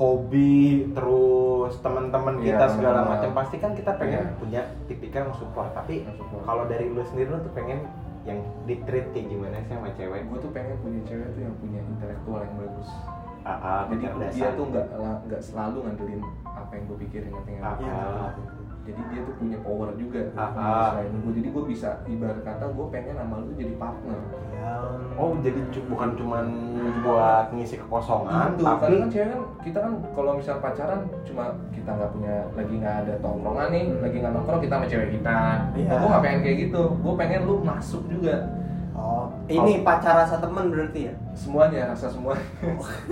Speaker 4: hobi terus teman-teman
Speaker 1: Iya,
Speaker 4: kita segala
Speaker 1: teman-teman.
Speaker 4: macam pasti kan kita pengen
Speaker 1: Iya.
Speaker 4: punya tipikal yang support tapi
Speaker 1: Yang support.
Speaker 4: kalau dari lu sendiri lu tuh pengen yang di treat kayak gimana sih sama cewek
Speaker 1: Gue tuh pengen punya cewek tuh yang punya intelektual yang bagus.
Speaker 4: ah, ah,
Speaker 1: Jadi
Speaker 4: kecerdasan.
Speaker 1: dia tuh nggak la- nggak selalu ngandelin apa yang gue pikirin apa yang
Speaker 4: Ah,
Speaker 2: Iya.
Speaker 1: gue
Speaker 4: ah.
Speaker 1: Jadi dia tuh punya power juga.
Speaker 4: Ah, ah.
Speaker 1: Selain gue, jadi gue bisa ibarat kata gue pengen sama lu jadi partner.
Speaker 4: oh jadi cu- bukan cuman buat ngisi kekosongan Ah,
Speaker 1: Gitu,
Speaker 4: tapi
Speaker 1: karena kan cewek kan kita kan kalau misal pacaran cuma kita nggak punya lagi nggak ada tongkrongan nih,
Speaker 4: Hmm.
Speaker 1: lagi nggak nongkrong kita sama cewek kita.
Speaker 2: Iya.
Speaker 1: Nah, gue nggak pengen kayak gitu, gue pengen lu masuk juga
Speaker 2: oh ini pacar rasa teman berarti ya
Speaker 1: semuanya rasa semua.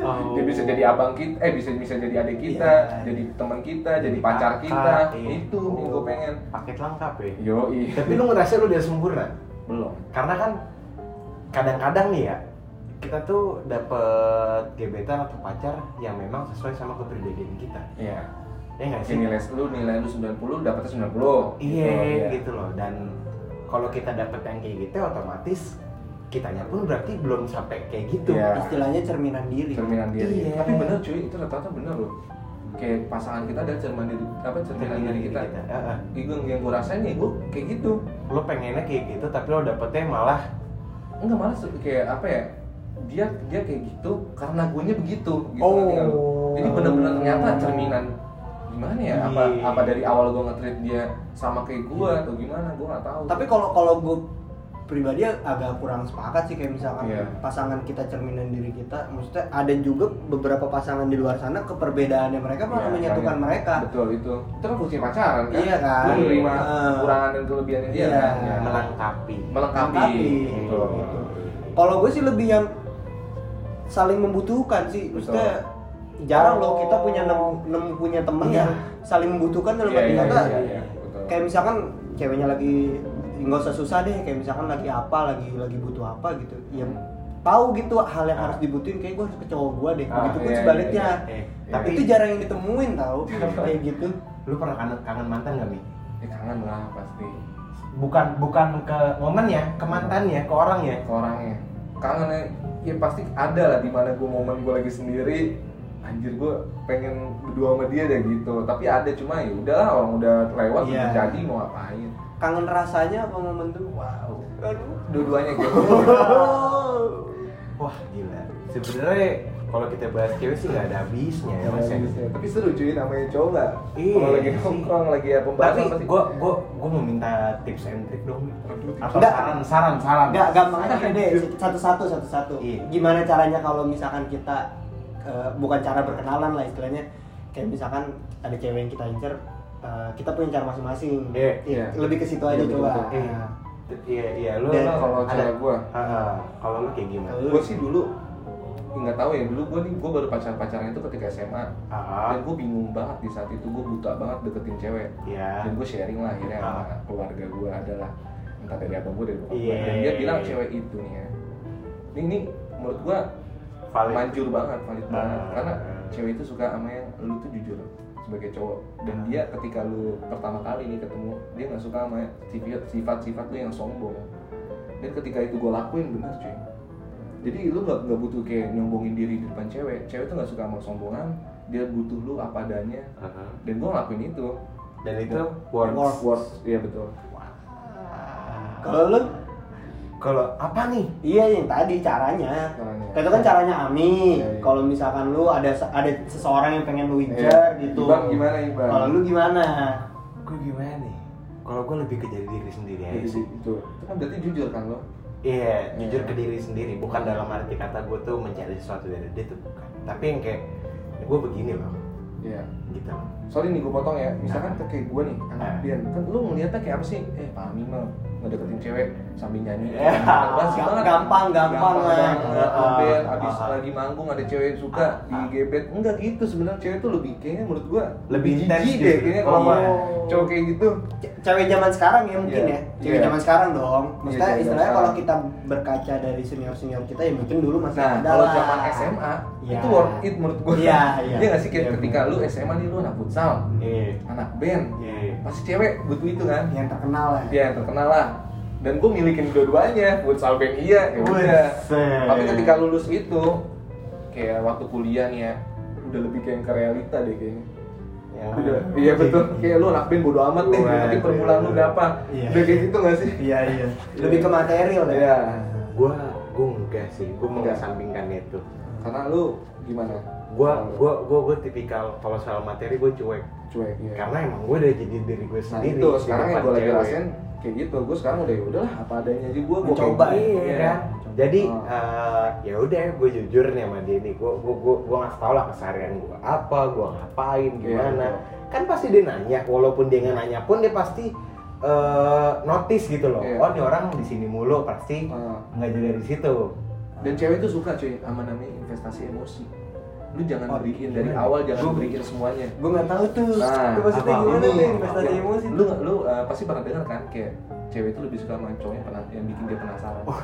Speaker 4: Oh.
Speaker 1: Dia bisa jadi abang kita, eh bisa bisa jadi adik kita,
Speaker 2: Iya.
Speaker 1: jadi teman kita, ya,
Speaker 4: Jadi
Speaker 1: jadi, pacar
Speaker 4: kakak,
Speaker 1: kita.
Speaker 4: iya.
Speaker 1: Itu yang gue pengen.
Speaker 4: paket lengkap ya
Speaker 1: Yo
Speaker 4: tapi lu ngerasa lu udah sempurna
Speaker 1: belum.
Speaker 4: karena kan kadang-kadang nih ya kita tuh dapet gebetan atau pacar yang memang sesuai sama kepribadian kita
Speaker 1: Iya.
Speaker 4: ya nggak
Speaker 1: Si
Speaker 4: sih
Speaker 1: nilai lu nilai lu 90, dapetnya 90.
Speaker 4: iya
Speaker 1: Gitu,
Speaker 4: gitu loh dan kalau kita dapet yang kayak gitu otomatis kitanya pun berarti belum sampai kayak gitu
Speaker 1: Iya.
Speaker 2: istilahnya cerminan diri
Speaker 1: cerminan diri.
Speaker 4: Iya.
Speaker 1: Tapi bener cuy, itu rata-rata bener loh. Kayak pasangan kita ada cermin diri, apa cerminan diri kita.
Speaker 4: Eh, eh.
Speaker 1: Itu yang, yang gue rasain ya gue kayak gitu.
Speaker 4: lo pengennya kayak gitu tapi lo dapetnya malah
Speaker 1: Enggak malah se- kayak apa ya? Dia dia kayak gitu karena guanya begitu gitu
Speaker 4: Oh.
Speaker 1: ngerti nggak lu? Jadi bener-bener ternyata cerminan gimana ya? Apa
Speaker 4: Iya.
Speaker 1: apa dari awal gue nge-treat dia sama kayak gue atau gimana? Gue nggak tahu.
Speaker 2: Iya. tapi kalau kalau gue pribadi ya agak kurang sepakat sih kayak misalkan
Speaker 1: Iya.
Speaker 2: pasangan kita cerminan diri kita maksudnya ada juga beberapa pasangan di luar sana keperbedaannya mereka malah
Speaker 1: Iya,
Speaker 2: menyatukan
Speaker 1: makanya.
Speaker 2: mereka
Speaker 1: Betul itu. Itu kan fungsi pacaran kan?
Speaker 2: Iya kan?
Speaker 1: Lu menerima
Speaker 2: Iya.
Speaker 1: kekurangan dan kelebihannya dia
Speaker 2: Iya.
Speaker 1: kan? Ya.
Speaker 4: melengkapi
Speaker 1: Melengkapi.
Speaker 2: Melengkapi.
Speaker 1: Gitu.
Speaker 2: Gitu. kalau gue sih lebih yang saling membutuhkan sih maksudnya jarang loh kita punya nem, nem- punya temen
Speaker 4: Iya.
Speaker 2: yang saling membutuhkan dalam
Speaker 1: Iya,
Speaker 2: arti
Speaker 1: iya,
Speaker 2: kata
Speaker 1: iya, iya, betul.
Speaker 2: kayak misalkan ceweknya lagi nggak usah susah deh kayak misalkan lagi apa lagi lagi butuh apa gitu ya
Speaker 1: Hmm.
Speaker 2: tahu gitu hal yang
Speaker 4: Ah.
Speaker 2: harus dibutuhin kayak gue harus ke cowok gue deh
Speaker 1: Ah,
Speaker 2: begitu pun
Speaker 1: iya,
Speaker 2: sebaliknya
Speaker 1: iya,
Speaker 4: iya. Iya.
Speaker 2: tapi
Speaker 4: Iya.
Speaker 2: itu jarang yang ditemuin tahu kayak gitu
Speaker 4: lo pernah kangen, kangen mantan gak mi
Speaker 1: Ya kangen lah pasti
Speaker 4: bukan bukan ke momennya ke mantannya ke ya. orangnya
Speaker 1: ke orangnya. Kangen ya, ya pasti ada lah di mana gue momen gue lagi sendiri anjir gue pengen berdua sama dia deh gitu tapi ada cuma ya udahlah orang udah lewat
Speaker 2: Iya.
Speaker 1: udah jadi mau ngapain
Speaker 2: kangen rasanya apa momen tuh
Speaker 1: wow
Speaker 2: aduh
Speaker 1: dua-duanya gitu
Speaker 2: Oh.
Speaker 4: Wah gila. Sebenarnya kalau kita bahas cewek sih nggak ada habisnya ya mas. ya.
Speaker 1: tapi seru cuy namanya cowok nggak?
Speaker 4: Iya
Speaker 1: kalau lagi
Speaker 4: sih.
Speaker 1: nongkrong lagi ya
Speaker 4: Tapi
Speaker 1: pembahasan pasti
Speaker 4: gue gue gue mau minta tips and trick dong.
Speaker 1: Aduh, tips
Speaker 4: Atau
Speaker 2: and
Speaker 4: saran saran saran.
Speaker 2: nggak gampang aja deh satu-satu satu-satu
Speaker 4: Iya.
Speaker 2: gimana caranya kalau misalkan kita eh, bukan cara berkenalan lah istilahnya kayak misalkan ada cewek yang kita incer eh, kita punya cara masing-masing
Speaker 4: Iya,
Speaker 1: iya.
Speaker 2: lebih ke situ
Speaker 1: Iya,
Speaker 2: aja
Speaker 1: betul,
Speaker 2: coba
Speaker 1: betul.
Speaker 4: Iya. Iya iya lu
Speaker 2: Dan
Speaker 4: lu
Speaker 1: kalau
Speaker 4: ada-
Speaker 1: cewek gua.
Speaker 4: Ah, ah. kalau lu kayak gimana?
Speaker 1: gue sih dulu nggak tahu ya dulu gue nih gue baru pacar pacarnya itu ketika SMA
Speaker 4: Ah.
Speaker 1: dan gue bingung banget di saat itu gue buta banget deketin cewek
Speaker 4: Iya.
Speaker 1: dan gue sharing lah akhirnya sama
Speaker 4: Ah.
Speaker 1: keluarga gue adalah entah dari abang gue dari bokap gue
Speaker 4: Iya.
Speaker 1: dan dia bilang cewek itu nih ya ini, ini menurut gue
Speaker 4: Valid.
Speaker 1: manjur banget valid
Speaker 4: Ah.
Speaker 1: banget karena cewek itu suka sama yang lu tuh jujur sebagai cowok dan
Speaker 2: Hmm.
Speaker 4: Ah.
Speaker 1: dia ketika lu pertama kali nih ketemu dia nggak suka sama sifat- sifat-sifat lu yang sombong dan ketika itu gue lakuin bener cuy jadi lu gak, nggak butuh kayak nyombongin diri di depan cewek cewek tuh nggak suka sama sombongan dia butuh lu apa adanya
Speaker 4: Ah, ah.
Speaker 1: dan gue ngelakuin itu
Speaker 4: Dan itu
Speaker 1: words
Speaker 4: words.
Speaker 1: words iya betul
Speaker 2: kalau lu
Speaker 4: Kalau apa nih?
Speaker 2: iya yang tadi caranya
Speaker 1: Caranya.
Speaker 2: Kayak itu kan caranya Ami
Speaker 1: Iya, iya.
Speaker 2: kalau misalkan lu ada ada seseorang yang pengen lu
Speaker 1: Iya.
Speaker 2: incer gitu
Speaker 1: Iban gimana, Iban?
Speaker 2: kalau lu gimana
Speaker 4: Gue gimana nih? Kalau gue lebih ke jadi diri sendiri aja
Speaker 2: gitu.
Speaker 1: Jadi
Speaker 4: sih.
Speaker 1: Iya, itu itu kan berarti jujur kan lo
Speaker 4: Iya, jujur
Speaker 1: Iya.
Speaker 4: ke diri sendiri, bukan dalam arti kata gue tuh mencari sesuatu dari dia tuh bukan. Tapi yang kayak gue ya begini loh,
Speaker 1: Iya.
Speaker 3: gitu
Speaker 1: Sorry nih gue potong ya. Misalkan
Speaker 2: Nah.
Speaker 1: kayak gue nih, anak Bian, kan lu ngeliatnya kayak apa sih? Eh, Pak Amin mah ngedeketin cewek sambil nyanyi.
Speaker 4: Ya.
Speaker 1: Basi
Speaker 2: Gampang,
Speaker 1: banget.
Speaker 2: Iya. gampang, gampang, ya.
Speaker 1: banget.
Speaker 2: Bang.
Speaker 1: Ngeliat
Speaker 4: Ah,
Speaker 1: Bian, abis
Speaker 4: ah, ah.
Speaker 1: lagi manggung ada cewek yang
Speaker 2: Ah,
Speaker 1: suka digebet. Enggak gitu sebenarnya cewek tuh lebih kayaknya menurut gue
Speaker 4: Lebih intens
Speaker 1: jijik
Speaker 4: gitu.
Speaker 1: deh kayaknya kalau
Speaker 4: Oh,
Speaker 1: sama
Speaker 4: iya.
Speaker 1: cewek kayak gitu.
Speaker 2: Ce- cewek zaman sekarang ya mungkin
Speaker 1: Iya,
Speaker 2: ya cewek
Speaker 1: iya.
Speaker 2: zaman sekarang dong maksudnya
Speaker 1: Iya, cewek
Speaker 2: istilahnya
Speaker 1: zaman
Speaker 2: kalau
Speaker 1: sekarang.
Speaker 2: kita berkaca dari senior senior kita ya mungkin dulu masih
Speaker 1: Nah,
Speaker 2: ada
Speaker 1: kalau
Speaker 2: lah.
Speaker 1: zaman SMA
Speaker 2: Iya.
Speaker 1: itu worth it menurut gue.
Speaker 2: Iya, iya.
Speaker 1: Iya nggak sih kayak
Speaker 2: Iya,
Speaker 1: ketika lu SMA nih lu anak futsal,
Speaker 4: Iya.
Speaker 1: anak band,
Speaker 4: Iya.
Speaker 1: pasti cewek butuh itu kan?
Speaker 2: yang terkenal lah ya.
Speaker 1: Iya yang terkenal lah. Dan gue milikin dua-duanya, futsal band iya, ya udah.
Speaker 4: Buset.
Speaker 1: Tapi ketika lulus itu, kayak waktu kuliah nih ya, udah lebih kayak ke realita deh kayaknya.
Speaker 4: Ya.
Speaker 1: Udah, iya betul. Kayak lu anak band bodo amat deh,
Speaker 4: Wah,
Speaker 1: nanti permulaan lu
Speaker 4: iya.
Speaker 1: berapa?
Speaker 2: Iya.
Speaker 1: Udah kayak gitu gak sih?
Speaker 2: iya iya lebih ke material ya
Speaker 1: Iya.
Speaker 4: Gua gua enggak sih, gua
Speaker 1: Enggak.
Speaker 4: mengesampingkan itu.
Speaker 1: Karena lu gimana?
Speaker 4: Gua gua gua gua tipikal kalau soal materi gua cuek.
Speaker 1: cuek ya.
Speaker 4: Karena emang gua udah jadi diri gue
Speaker 1: Nah
Speaker 4: sendiri.
Speaker 1: itu
Speaker 4: di
Speaker 1: sekarang yang
Speaker 4: depan
Speaker 1: gue lagi
Speaker 4: cewek.
Speaker 1: rasain kayak gitu, gue sekarang udah udahlah apa adanya aja gue gue
Speaker 2: Mencoba,
Speaker 1: gitu.
Speaker 4: Iya kan. Jadi
Speaker 1: Oh.
Speaker 4: eh, ya udah gue jujur nih sama dia nih. Gue gue gue gue ngasih tau lah keseharian gue apa, gue ngapain,
Speaker 1: Iya,
Speaker 4: gimana.
Speaker 1: betul.
Speaker 4: Kan pasti dia nanya. Walaupun dia nggak nanya pun dia pasti eh, notice gitu loh.
Speaker 1: Iya.
Speaker 4: Oh ini orang di sini mulu pasti
Speaker 1: Oh.
Speaker 4: nggak jadi dari situ.
Speaker 1: Dan cewek itu suka cuy sama namanya investasi emosi. Lu jangan
Speaker 2: Oh,
Speaker 1: beriin dari
Speaker 4: gimana?
Speaker 1: awal jangan
Speaker 4: Gua-
Speaker 1: beriin semuanya.
Speaker 2: gue nggak tahu tuh
Speaker 1: Nah,
Speaker 2: itu maksudnya
Speaker 4: apa-
Speaker 2: gimana
Speaker 4: apa-
Speaker 2: tuh investasi
Speaker 1: Ya,
Speaker 2: emosi
Speaker 1: Lu nggak- lu uh, pasti pernah dengar kan kayak cewek itu lebih suka sama cowok yang, pernah, yang bikin dia penasaran.
Speaker 2: oh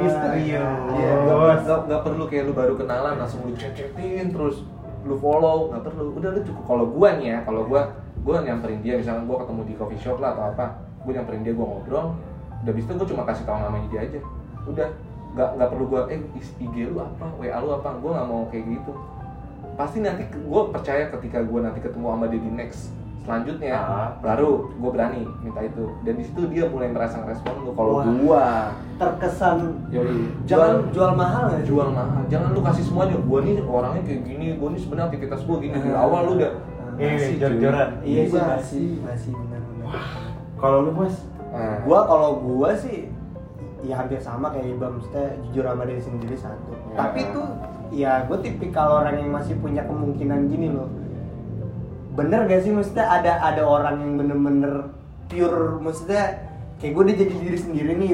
Speaker 1: Iya, nggak nggak- nggak perlu kayak lu baru kenalan langsung lu chat-chatin terus lu follow, nggak perlu. Udah lu cukup kalau gua nih ya, kalau gua gua nyamperin dia misalnya gua ketemu di coffee shop lah atau apa, gua nyamperin dia gua ngobrol, udah habis itu gua cuma kasih tahu namanya dia aja. Udah nggak nggak perlu gua eh is- IG lu apa, WA lu apa, gua nggak mau kayak gitu. Pasti nanti ke- gua percaya ketika gua nanti ketemu sama dia di next selanjutnya
Speaker 4: Ah.
Speaker 1: baru gua berani minta itu dan di situ dia mulai merasa ngerespon gua kalau
Speaker 2: Wah.
Speaker 1: gua
Speaker 2: terkesan
Speaker 1: Yoi.
Speaker 2: jual
Speaker 1: Jangan
Speaker 2: jual mahal ya
Speaker 1: jual mahal nah, jangan lu kasih semuanya gua nih orangnya kayak gini gua nih sebenarnya aktivitas gua gini
Speaker 2: Ah.
Speaker 1: dari awal lu udah
Speaker 4: Iya,
Speaker 1: Masih,
Speaker 4: jor-joran.
Speaker 1: cuy.
Speaker 2: iya sih
Speaker 1: Iya.
Speaker 2: masih masih benar-benar
Speaker 4: Kalau lu mas,
Speaker 1: Nah,
Speaker 2: gua kalau gua sih ya hampir sama kayak Ibam maksudnya jujur sama diri sendiri satu
Speaker 1: Ya.
Speaker 2: tapi itu ya gue tipikal orang yang masih punya kemungkinan gini loh bener gak sih maksudnya ada ada orang yang bener-bener pure maksudnya kayak gue udah jadi diri sendiri nih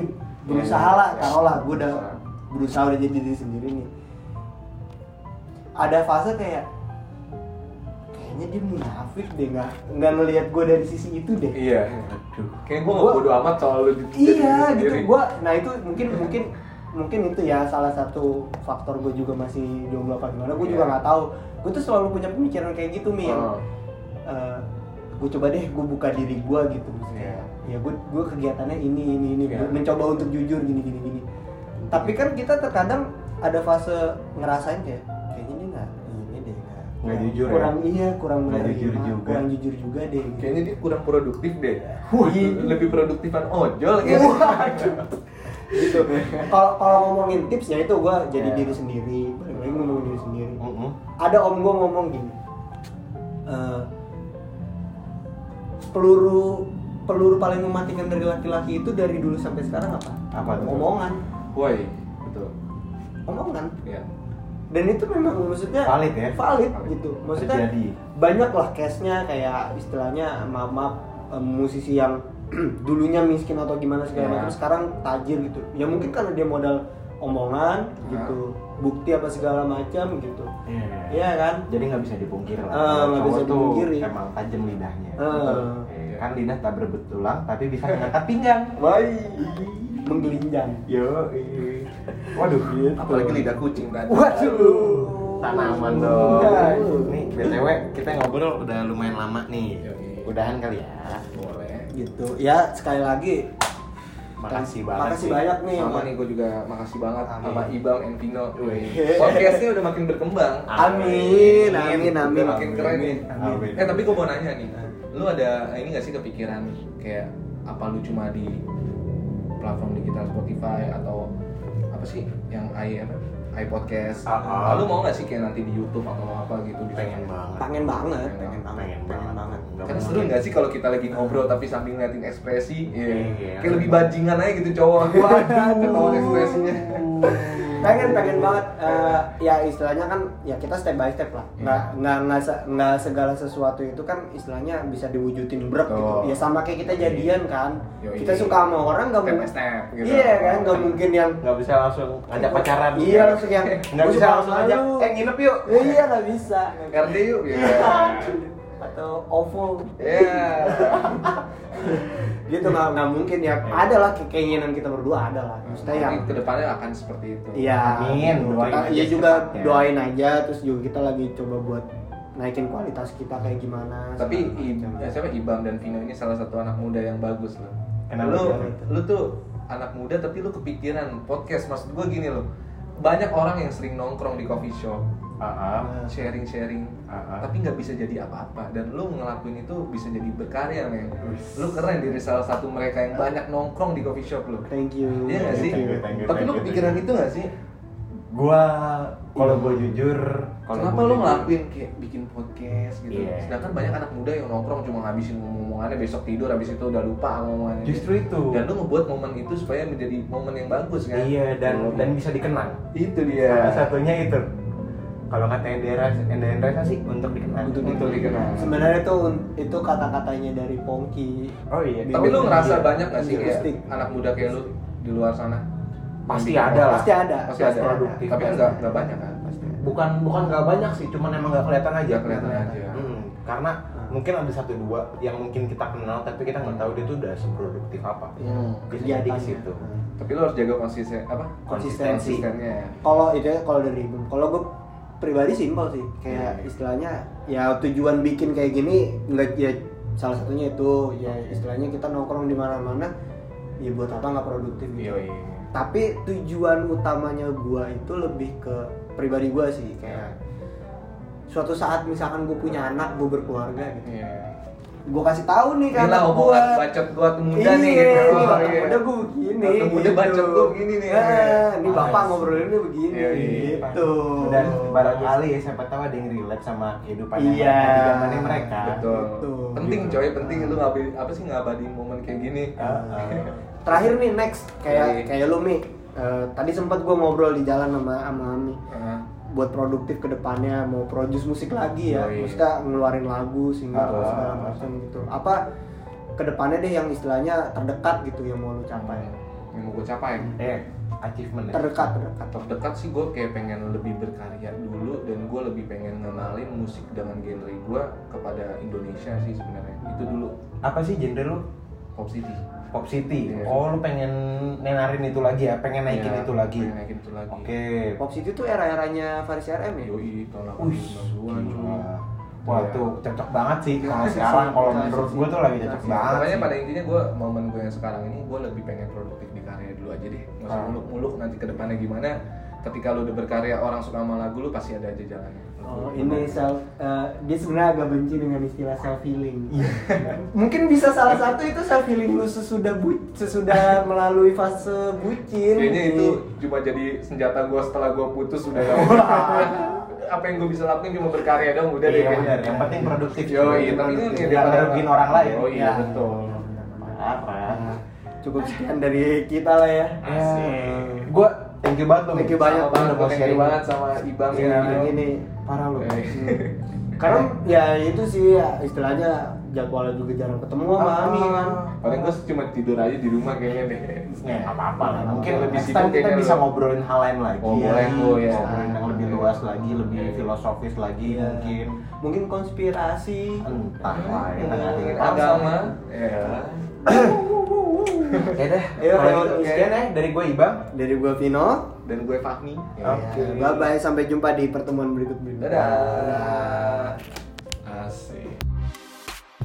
Speaker 2: berusaha
Speaker 1: Ya, ya,
Speaker 2: lah
Speaker 1: ya.
Speaker 2: kalau lah gue udah berusaha udah jadi diri sendiri nih ada fase kayak kayaknya dia munafik deh nggak nggak ngelihat gue dari sisi itu deh
Speaker 1: iya
Speaker 4: aduh.
Speaker 1: kayak gua nggak
Speaker 2: Gua-
Speaker 1: bodo amat soal lu di-
Speaker 2: iya
Speaker 1: jadi
Speaker 2: gitu
Speaker 1: sendiri.
Speaker 2: gua nah itu mungkin mungkin mungkin itu ya salah satu faktor gue juga masih jomblo apa gimana gue juga
Speaker 1: Iya.
Speaker 2: nggak tahu gue tuh selalu punya pemikiran kayak gitu mi yang
Speaker 1: Oh.
Speaker 2: gue coba deh gue buka diri gue gitu maksudnya ya gue gue kegiatannya ini ini ini
Speaker 1: Iya.
Speaker 2: Gua mencoba untuk jujur gini gini gini tapi kan kita terkadang ada fase ngerasain kayak kayaknya ini nggak ini deh nggak
Speaker 4: Nggak
Speaker 2: kurang-
Speaker 4: jujur ya?
Speaker 2: kurang iya kurang
Speaker 4: Nggak
Speaker 2: menerima,
Speaker 4: jujur juga.
Speaker 2: kurang jujur juga deh gitu.
Speaker 1: kayaknya dia kurang produktif deh
Speaker 2: Wih.
Speaker 1: lebih produktifan ojol ya
Speaker 2: gitu kalau kalau ngomongin tips ya itu gue jadi
Speaker 1: Iya.
Speaker 2: diri sendiri balik lagi ngomongin diri sendiri
Speaker 4: Mm-mm.
Speaker 2: ada om gue ngomong gini eh, peluru peluru paling mematikan dari laki-laki itu dari dulu sampai sekarang apa
Speaker 4: Apa tuh?
Speaker 2: omongan
Speaker 1: woi betul
Speaker 2: omongan
Speaker 1: ya
Speaker 2: dan itu memang maksudnya
Speaker 4: Valid ya?
Speaker 2: valid
Speaker 1: Valid.
Speaker 2: gitu maksudnya
Speaker 4: Terjadi.
Speaker 2: banyak lah case nya kayak istilahnya maaf, maaf em, musisi yang dulunya miskin atau gimana segala
Speaker 4: Iya.
Speaker 1: Ya.
Speaker 2: macam sekarang tajir gitu ya mungkin karena dia modal omongan
Speaker 1: Ya.
Speaker 2: gitu bukti apa segala macam gitu
Speaker 4: Iya.
Speaker 2: Iya kan
Speaker 4: Jadi nggak bisa dipungkir lah.
Speaker 2: Eh,
Speaker 4: kalau
Speaker 2: nggak
Speaker 4: cowok
Speaker 2: bisa
Speaker 4: tuh
Speaker 2: dipungkiri.
Speaker 4: Emang tajam lidahnya.
Speaker 2: Eh.
Speaker 4: Betul. Eh, Kan lidah tak berbetulang, tapi bisa mengangkat pinggang.
Speaker 2: baik menggelinjang
Speaker 4: Yo, waduh.
Speaker 1: apalagi lidah kucing kan
Speaker 4: Waduh. Tanaman dong.
Speaker 2: Iya.
Speaker 4: Nih, btw kita ngobrol udah lumayan lama nih.
Speaker 1: Yoi.
Speaker 4: Udahan kali ya.
Speaker 1: boleh
Speaker 2: gitu ya sekali lagi
Speaker 4: Makasih banget.
Speaker 2: makasih
Speaker 4: nih.
Speaker 2: banyak nih
Speaker 1: sama nih gue juga makasih banget
Speaker 4: Amin.
Speaker 1: sama Ibang and Vino
Speaker 4: Wih.
Speaker 1: podcastnya udah makin berkembang
Speaker 2: Amin, amin, amin.
Speaker 1: Udah makin keren nih.
Speaker 4: Amin.
Speaker 1: Eh tapi gue mau nanya nih, lu ada ini gak sih kepikiran kayak apa lu cuma di platform digital Spotify atau apa sih yang i apa i podcast?
Speaker 4: Ah, ah.
Speaker 1: Lu mau gak sih kayak nanti di YouTube atau apa gitu? Di
Speaker 4: Pengen banget.
Speaker 2: pengen banget
Speaker 1: Pengen
Speaker 4: Pengen banget. Kan Nggak
Speaker 1: Karena
Speaker 4: mungkin.
Speaker 1: seru gak sih kalau kita lagi ngobrol tapi sambil ngeliatin ekspresi? Iya.
Speaker 4: Iya.
Speaker 1: Kayak lebih bajingan aja gitu cowok. Waduh. Ketahuan ekspresinya.
Speaker 2: pengen pengen banget eh, ya istilahnya kan ya kita step by step lah
Speaker 1: Hmm.
Speaker 2: nggak nggak nggak se- nggak segala sesuatu itu kan istilahnya bisa diwujudin brek gitu
Speaker 1: Betul.
Speaker 2: ya
Speaker 1: Iya.
Speaker 2: sama kayak kita jadian kan
Speaker 1: Yoi.
Speaker 2: kita suka sama orang nggak
Speaker 1: Step by
Speaker 2: mungkin
Speaker 1: step gitu.
Speaker 2: iya kan nggak mungkin yang
Speaker 4: nggak bisa langsung ngajak pacaran
Speaker 2: iya langsung yang
Speaker 4: nggak
Speaker 2: "Gua
Speaker 4: bisa
Speaker 2: suka
Speaker 4: langsung
Speaker 2: sama
Speaker 4: ngajak
Speaker 2: lu."
Speaker 4: eh nginep yuk
Speaker 2: iya nggak bisa
Speaker 1: RD yuk ya
Speaker 2: atau ovo
Speaker 1: Iya.
Speaker 2: gitu nggak nggak mungkin ya
Speaker 1: Iya.
Speaker 2: ada lah ke- keinginan kita berdua ada lah
Speaker 1: Hmm.
Speaker 2: maksudnya yang
Speaker 1: Nanti kedepannya akan seperti itu
Speaker 2: Iya.
Speaker 4: Amin, doain
Speaker 2: Kita-
Speaker 4: aja ya.
Speaker 2: Iya juga
Speaker 4: secepatnya.
Speaker 2: doain aja terus juga kita lagi coba buat naikin kualitas kita kayak gimana.
Speaker 1: tapi
Speaker 2: segala
Speaker 1: I-
Speaker 2: macam.
Speaker 1: ya, siapa Ibam dan Vino ini salah satu anak muda yang bagus loh
Speaker 4: Kenapa
Speaker 1: lu
Speaker 4: gitu?
Speaker 1: lu tuh anak muda tapi lu kepikiran podcast maksud gua gini loh banyak orang yang sering nongkrong di coffee shop
Speaker 4: Ah, ah.
Speaker 1: sharing sharing
Speaker 4: Ah, ah.
Speaker 1: tapi nggak bisa jadi apa-apa dan lu ngelakuin itu bisa jadi berkarya men lu keren dari salah satu mereka yang banyak nongkrong di coffee shop lu
Speaker 2: thank you.
Speaker 1: Iya nggak sih?
Speaker 2: Thank you.
Speaker 4: Thank you,
Speaker 1: Tapi
Speaker 4: thank
Speaker 1: lu
Speaker 4: you,
Speaker 1: kepikiran
Speaker 4: thank
Speaker 1: itu nggak sih?
Speaker 4: gua kalau gua jujur kalau
Speaker 1: Kenapa
Speaker 4: gua
Speaker 1: lu
Speaker 4: jujur-
Speaker 1: ngelakuin kayak bikin podcast gitu?
Speaker 4: Iya.
Speaker 1: Sedangkan banyak anak muda yang nongkrong cuma ngabisin ngomongannya besok tidur habis itu udah lupa sama ngomongannya.
Speaker 4: justru itu
Speaker 1: Dan lu ngebuat momen itu supaya menjadi momen yang bagus kan?
Speaker 4: iya dan
Speaker 1: Lu-
Speaker 4: dan bisa dikenang
Speaker 1: itu
Speaker 4: salah
Speaker 1: dia.
Speaker 4: satunya itu kalau kata Endera Endera sih untuk dikenang
Speaker 1: Untuk, untuk dikenal.
Speaker 2: Sebenarnya tuh itu kata-katanya dari Pongki.
Speaker 4: oh iya
Speaker 1: Tapi lu
Speaker 4: Iya.
Speaker 1: ngerasa banyak gak sih kayak
Speaker 2: Stick.
Speaker 1: anak muda kayak lu di luar sana?
Speaker 4: Pasti
Speaker 1: Yang bikin
Speaker 4: ada lah.
Speaker 2: Pasti ada.
Speaker 1: podcast? Pasti ada.
Speaker 4: Produktif.
Speaker 1: Tapi kan nggak nggak banyak kan?
Speaker 4: bukan bukan nggak banyak sih cuman emang nggak kelihatan aja
Speaker 1: Nggak kelihatan aja.
Speaker 4: Iya. Hmm, karena mungkin ada satu dua yang mungkin kita kenal tapi kita nggak tahu dia tuh udah seproduktif apa
Speaker 1: Hmm.
Speaker 4: Bisa
Speaker 2: Kegiatannya.
Speaker 4: Iya, jadi ke situ
Speaker 2: Hmm.
Speaker 1: Tapi lu harus jaga konsisten apa?
Speaker 2: Konsistensi.
Speaker 1: Konsistennya. ya.
Speaker 2: Kalau itu ya, kalau dari Ibnu. kalau gue pribadi simpel sih kayak
Speaker 1: Iya.
Speaker 2: istilahnya ya tujuan bikin kayak gini nggak ya salah satunya itu ya istilahnya kita nongkrong di mana-mana ya buat apa nggak produktif
Speaker 4: Iya,
Speaker 2: gitu.
Speaker 1: Yoi.
Speaker 2: tapi tujuan utamanya gua itu lebih ke pribadi gua sih kayak suatu saat misalkan gua punya anak gua berkeluarga gitu
Speaker 1: Iya.
Speaker 2: gua kasih tahu nih kan
Speaker 1: Gila
Speaker 2: anak gua
Speaker 1: omongan bacot gua tuh muda
Speaker 2: iya,
Speaker 1: nih gitu.
Speaker 2: nih,
Speaker 1: Oh,
Speaker 2: anak
Speaker 1: iya.
Speaker 2: muda gua begini
Speaker 1: Anak muda bacot gua begini nih.
Speaker 2: Eh, ini
Speaker 1: Panas.
Speaker 2: bapak ngobrolinnya begini
Speaker 1: Iya, iya, iya.
Speaker 2: gitu
Speaker 4: dan barangkali ya siapa tahu ada yang relate sama kehidupan yang
Speaker 2: Iya.
Speaker 4: mereka di zamannya mereka
Speaker 1: Betul.
Speaker 2: Betul.
Speaker 1: Penting
Speaker 4: Nah, Gitu.
Speaker 1: coy, penting lu ngabain apa sih ngabadiin momen kayak gini.
Speaker 4: Nah, Heeh.
Speaker 2: terakhir nih next
Speaker 1: Iya.
Speaker 2: kayak kayak lu Mi Eh, tadi sempat gua ngobrol di jalan sama sama Ami
Speaker 1: Heeh.
Speaker 2: buat produktif ke depannya mau produce musik lagi ya
Speaker 1: Yoi.
Speaker 2: maksudnya ngeluarin lagu single
Speaker 4: Ah.
Speaker 2: segala macam gitu apa ke depannya deh yang istilahnya terdekat gitu yang mau lu capai
Speaker 1: Nah. Yang mau gue capai.
Speaker 4: eh achievement ya.
Speaker 2: terdekat terdekat
Speaker 1: Terdekat sih gue kayak pengen lebih berkarya dulu dan gue lebih pengen ngenalin musik dengan genre gue kepada Indonesia sih sebenarnya. Itu dulu
Speaker 4: apa sih genre lu
Speaker 1: Pop City.
Speaker 4: pop city
Speaker 1: Iya.
Speaker 4: oh lu pengen nenarin itu lagi ya pengen naikin
Speaker 1: Iya,
Speaker 4: itu lagi
Speaker 1: pengen naikin itu lagi.
Speaker 4: oke
Speaker 2: pop city tuh era-eranya Faris RM ya
Speaker 1: Yoi, tahun
Speaker 4: Wih,
Speaker 1: 80-an cuy.
Speaker 4: Wah
Speaker 1: Iya.
Speaker 4: tuh cocok banget sih kalau sekarang kalau menurut gue tuh lagi
Speaker 1: Iya,
Speaker 4: cocok banget.
Speaker 1: Makanya
Speaker 4: sih.
Speaker 1: pada intinya gue momen gue yang sekarang ini gue lebih pengen produktif di karya dulu aja deh Gak usah
Speaker 4: Ah.
Speaker 1: muluk-muluk nanti ke depannya gimana Ketika lu udah berkarya orang suka sama lagu lu pasti ada aja jalannya
Speaker 2: Oh, ini self, eh, dia sebenarnya agak benci dengan istilah self healing. Iya. Mungkin bisa salah satu itu self healing lu sesudah bu- sesudah melalui fase bucin.
Speaker 1: Kayaknya
Speaker 2: Mi.
Speaker 1: itu cuma jadi senjata gue setelah gue putus udah gak Apa yang gue bisa lakuin cuma berkarya dong udah deh
Speaker 4: Iya,
Speaker 1: kayaknya
Speaker 4: benar. Yang penting produktif.
Speaker 1: Yo, iya, tapi ini
Speaker 4: Produktif.
Speaker 1: kayak
Speaker 4: Nggak
Speaker 1: daripada-
Speaker 4: ngerugiin orang lain.
Speaker 1: Oh, iya,
Speaker 4: Ya.
Speaker 1: betul.
Speaker 4: Parah.
Speaker 2: Nah, Cukup sekian dari kita lah ya.
Speaker 4: Gue Iya. thank you banget lu.
Speaker 2: Thank you banyak,
Speaker 1: Sama banget,
Speaker 4: udah mau
Speaker 1: thank you
Speaker 4: sharing.
Speaker 1: banget sama Ibang gitu.
Speaker 4: Iya,
Speaker 1: Vino.
Speaker 2: Yang ini
Speaker 4: Parah lu.
Speaker 1: Eh.
Speaker 2: Karena ya itu sih ya, istilahnya jadwalnya juga jarang ketemu sama
Speaker 4: Ah.
Speaker 2: Ami kan.
Speaker 1: Paling gue cuma tidur aja di rumah kayaknya deh
Speaker 4: Ya nggak apa-apa lah.
Speaker 1: Iya,
Speaker 2: Nggak
Speaker 4: Mungkin
Speaker 2: apa-apa.
Speaker 4: lebih
Speaker 1: Next
Speaker 4: kita
Speaker 1: time kayaknya
Speaker 4: bisa
Speaker 1: lu-
Speaker 4: ngobrolin hal lain lagi.
Speaker 1: Oh, boleh tuh, ya.
Speaker 4: Ngobrolin yang lebih
Speaker 1: Iya.
Speaker 4: luas lagi, lebih
Speaker 1: Iya.
Speaker 4: filosofis lagi
Speaker 2: Iya.
Speaker 4: mungkin.
Speaker 2: Mungkin konspirasi.
Speaker 4: Entah lah,
Speaker 1: Iya.
Speaker 4: kita nggak dingin
Speaker 1: Agama ya.
Speaker 4: Oke deh.
Speaker 2: Ayo,
Speaker 4: Kalau
Speaker 2: kalau
Speaker 4: gitu,
Speaker 2: gitu.
Speaker 4: sekian ya dari gue Ibang.
Speaker 2: Dari gua Vino.
Speaker 1: Dan gue Fahmi
Speaker 4: Oke.
Speaker 2: Bye bye sampai jumpa di pertemuan berikut berikutnya.
Speaker 1: Dadah. Asik.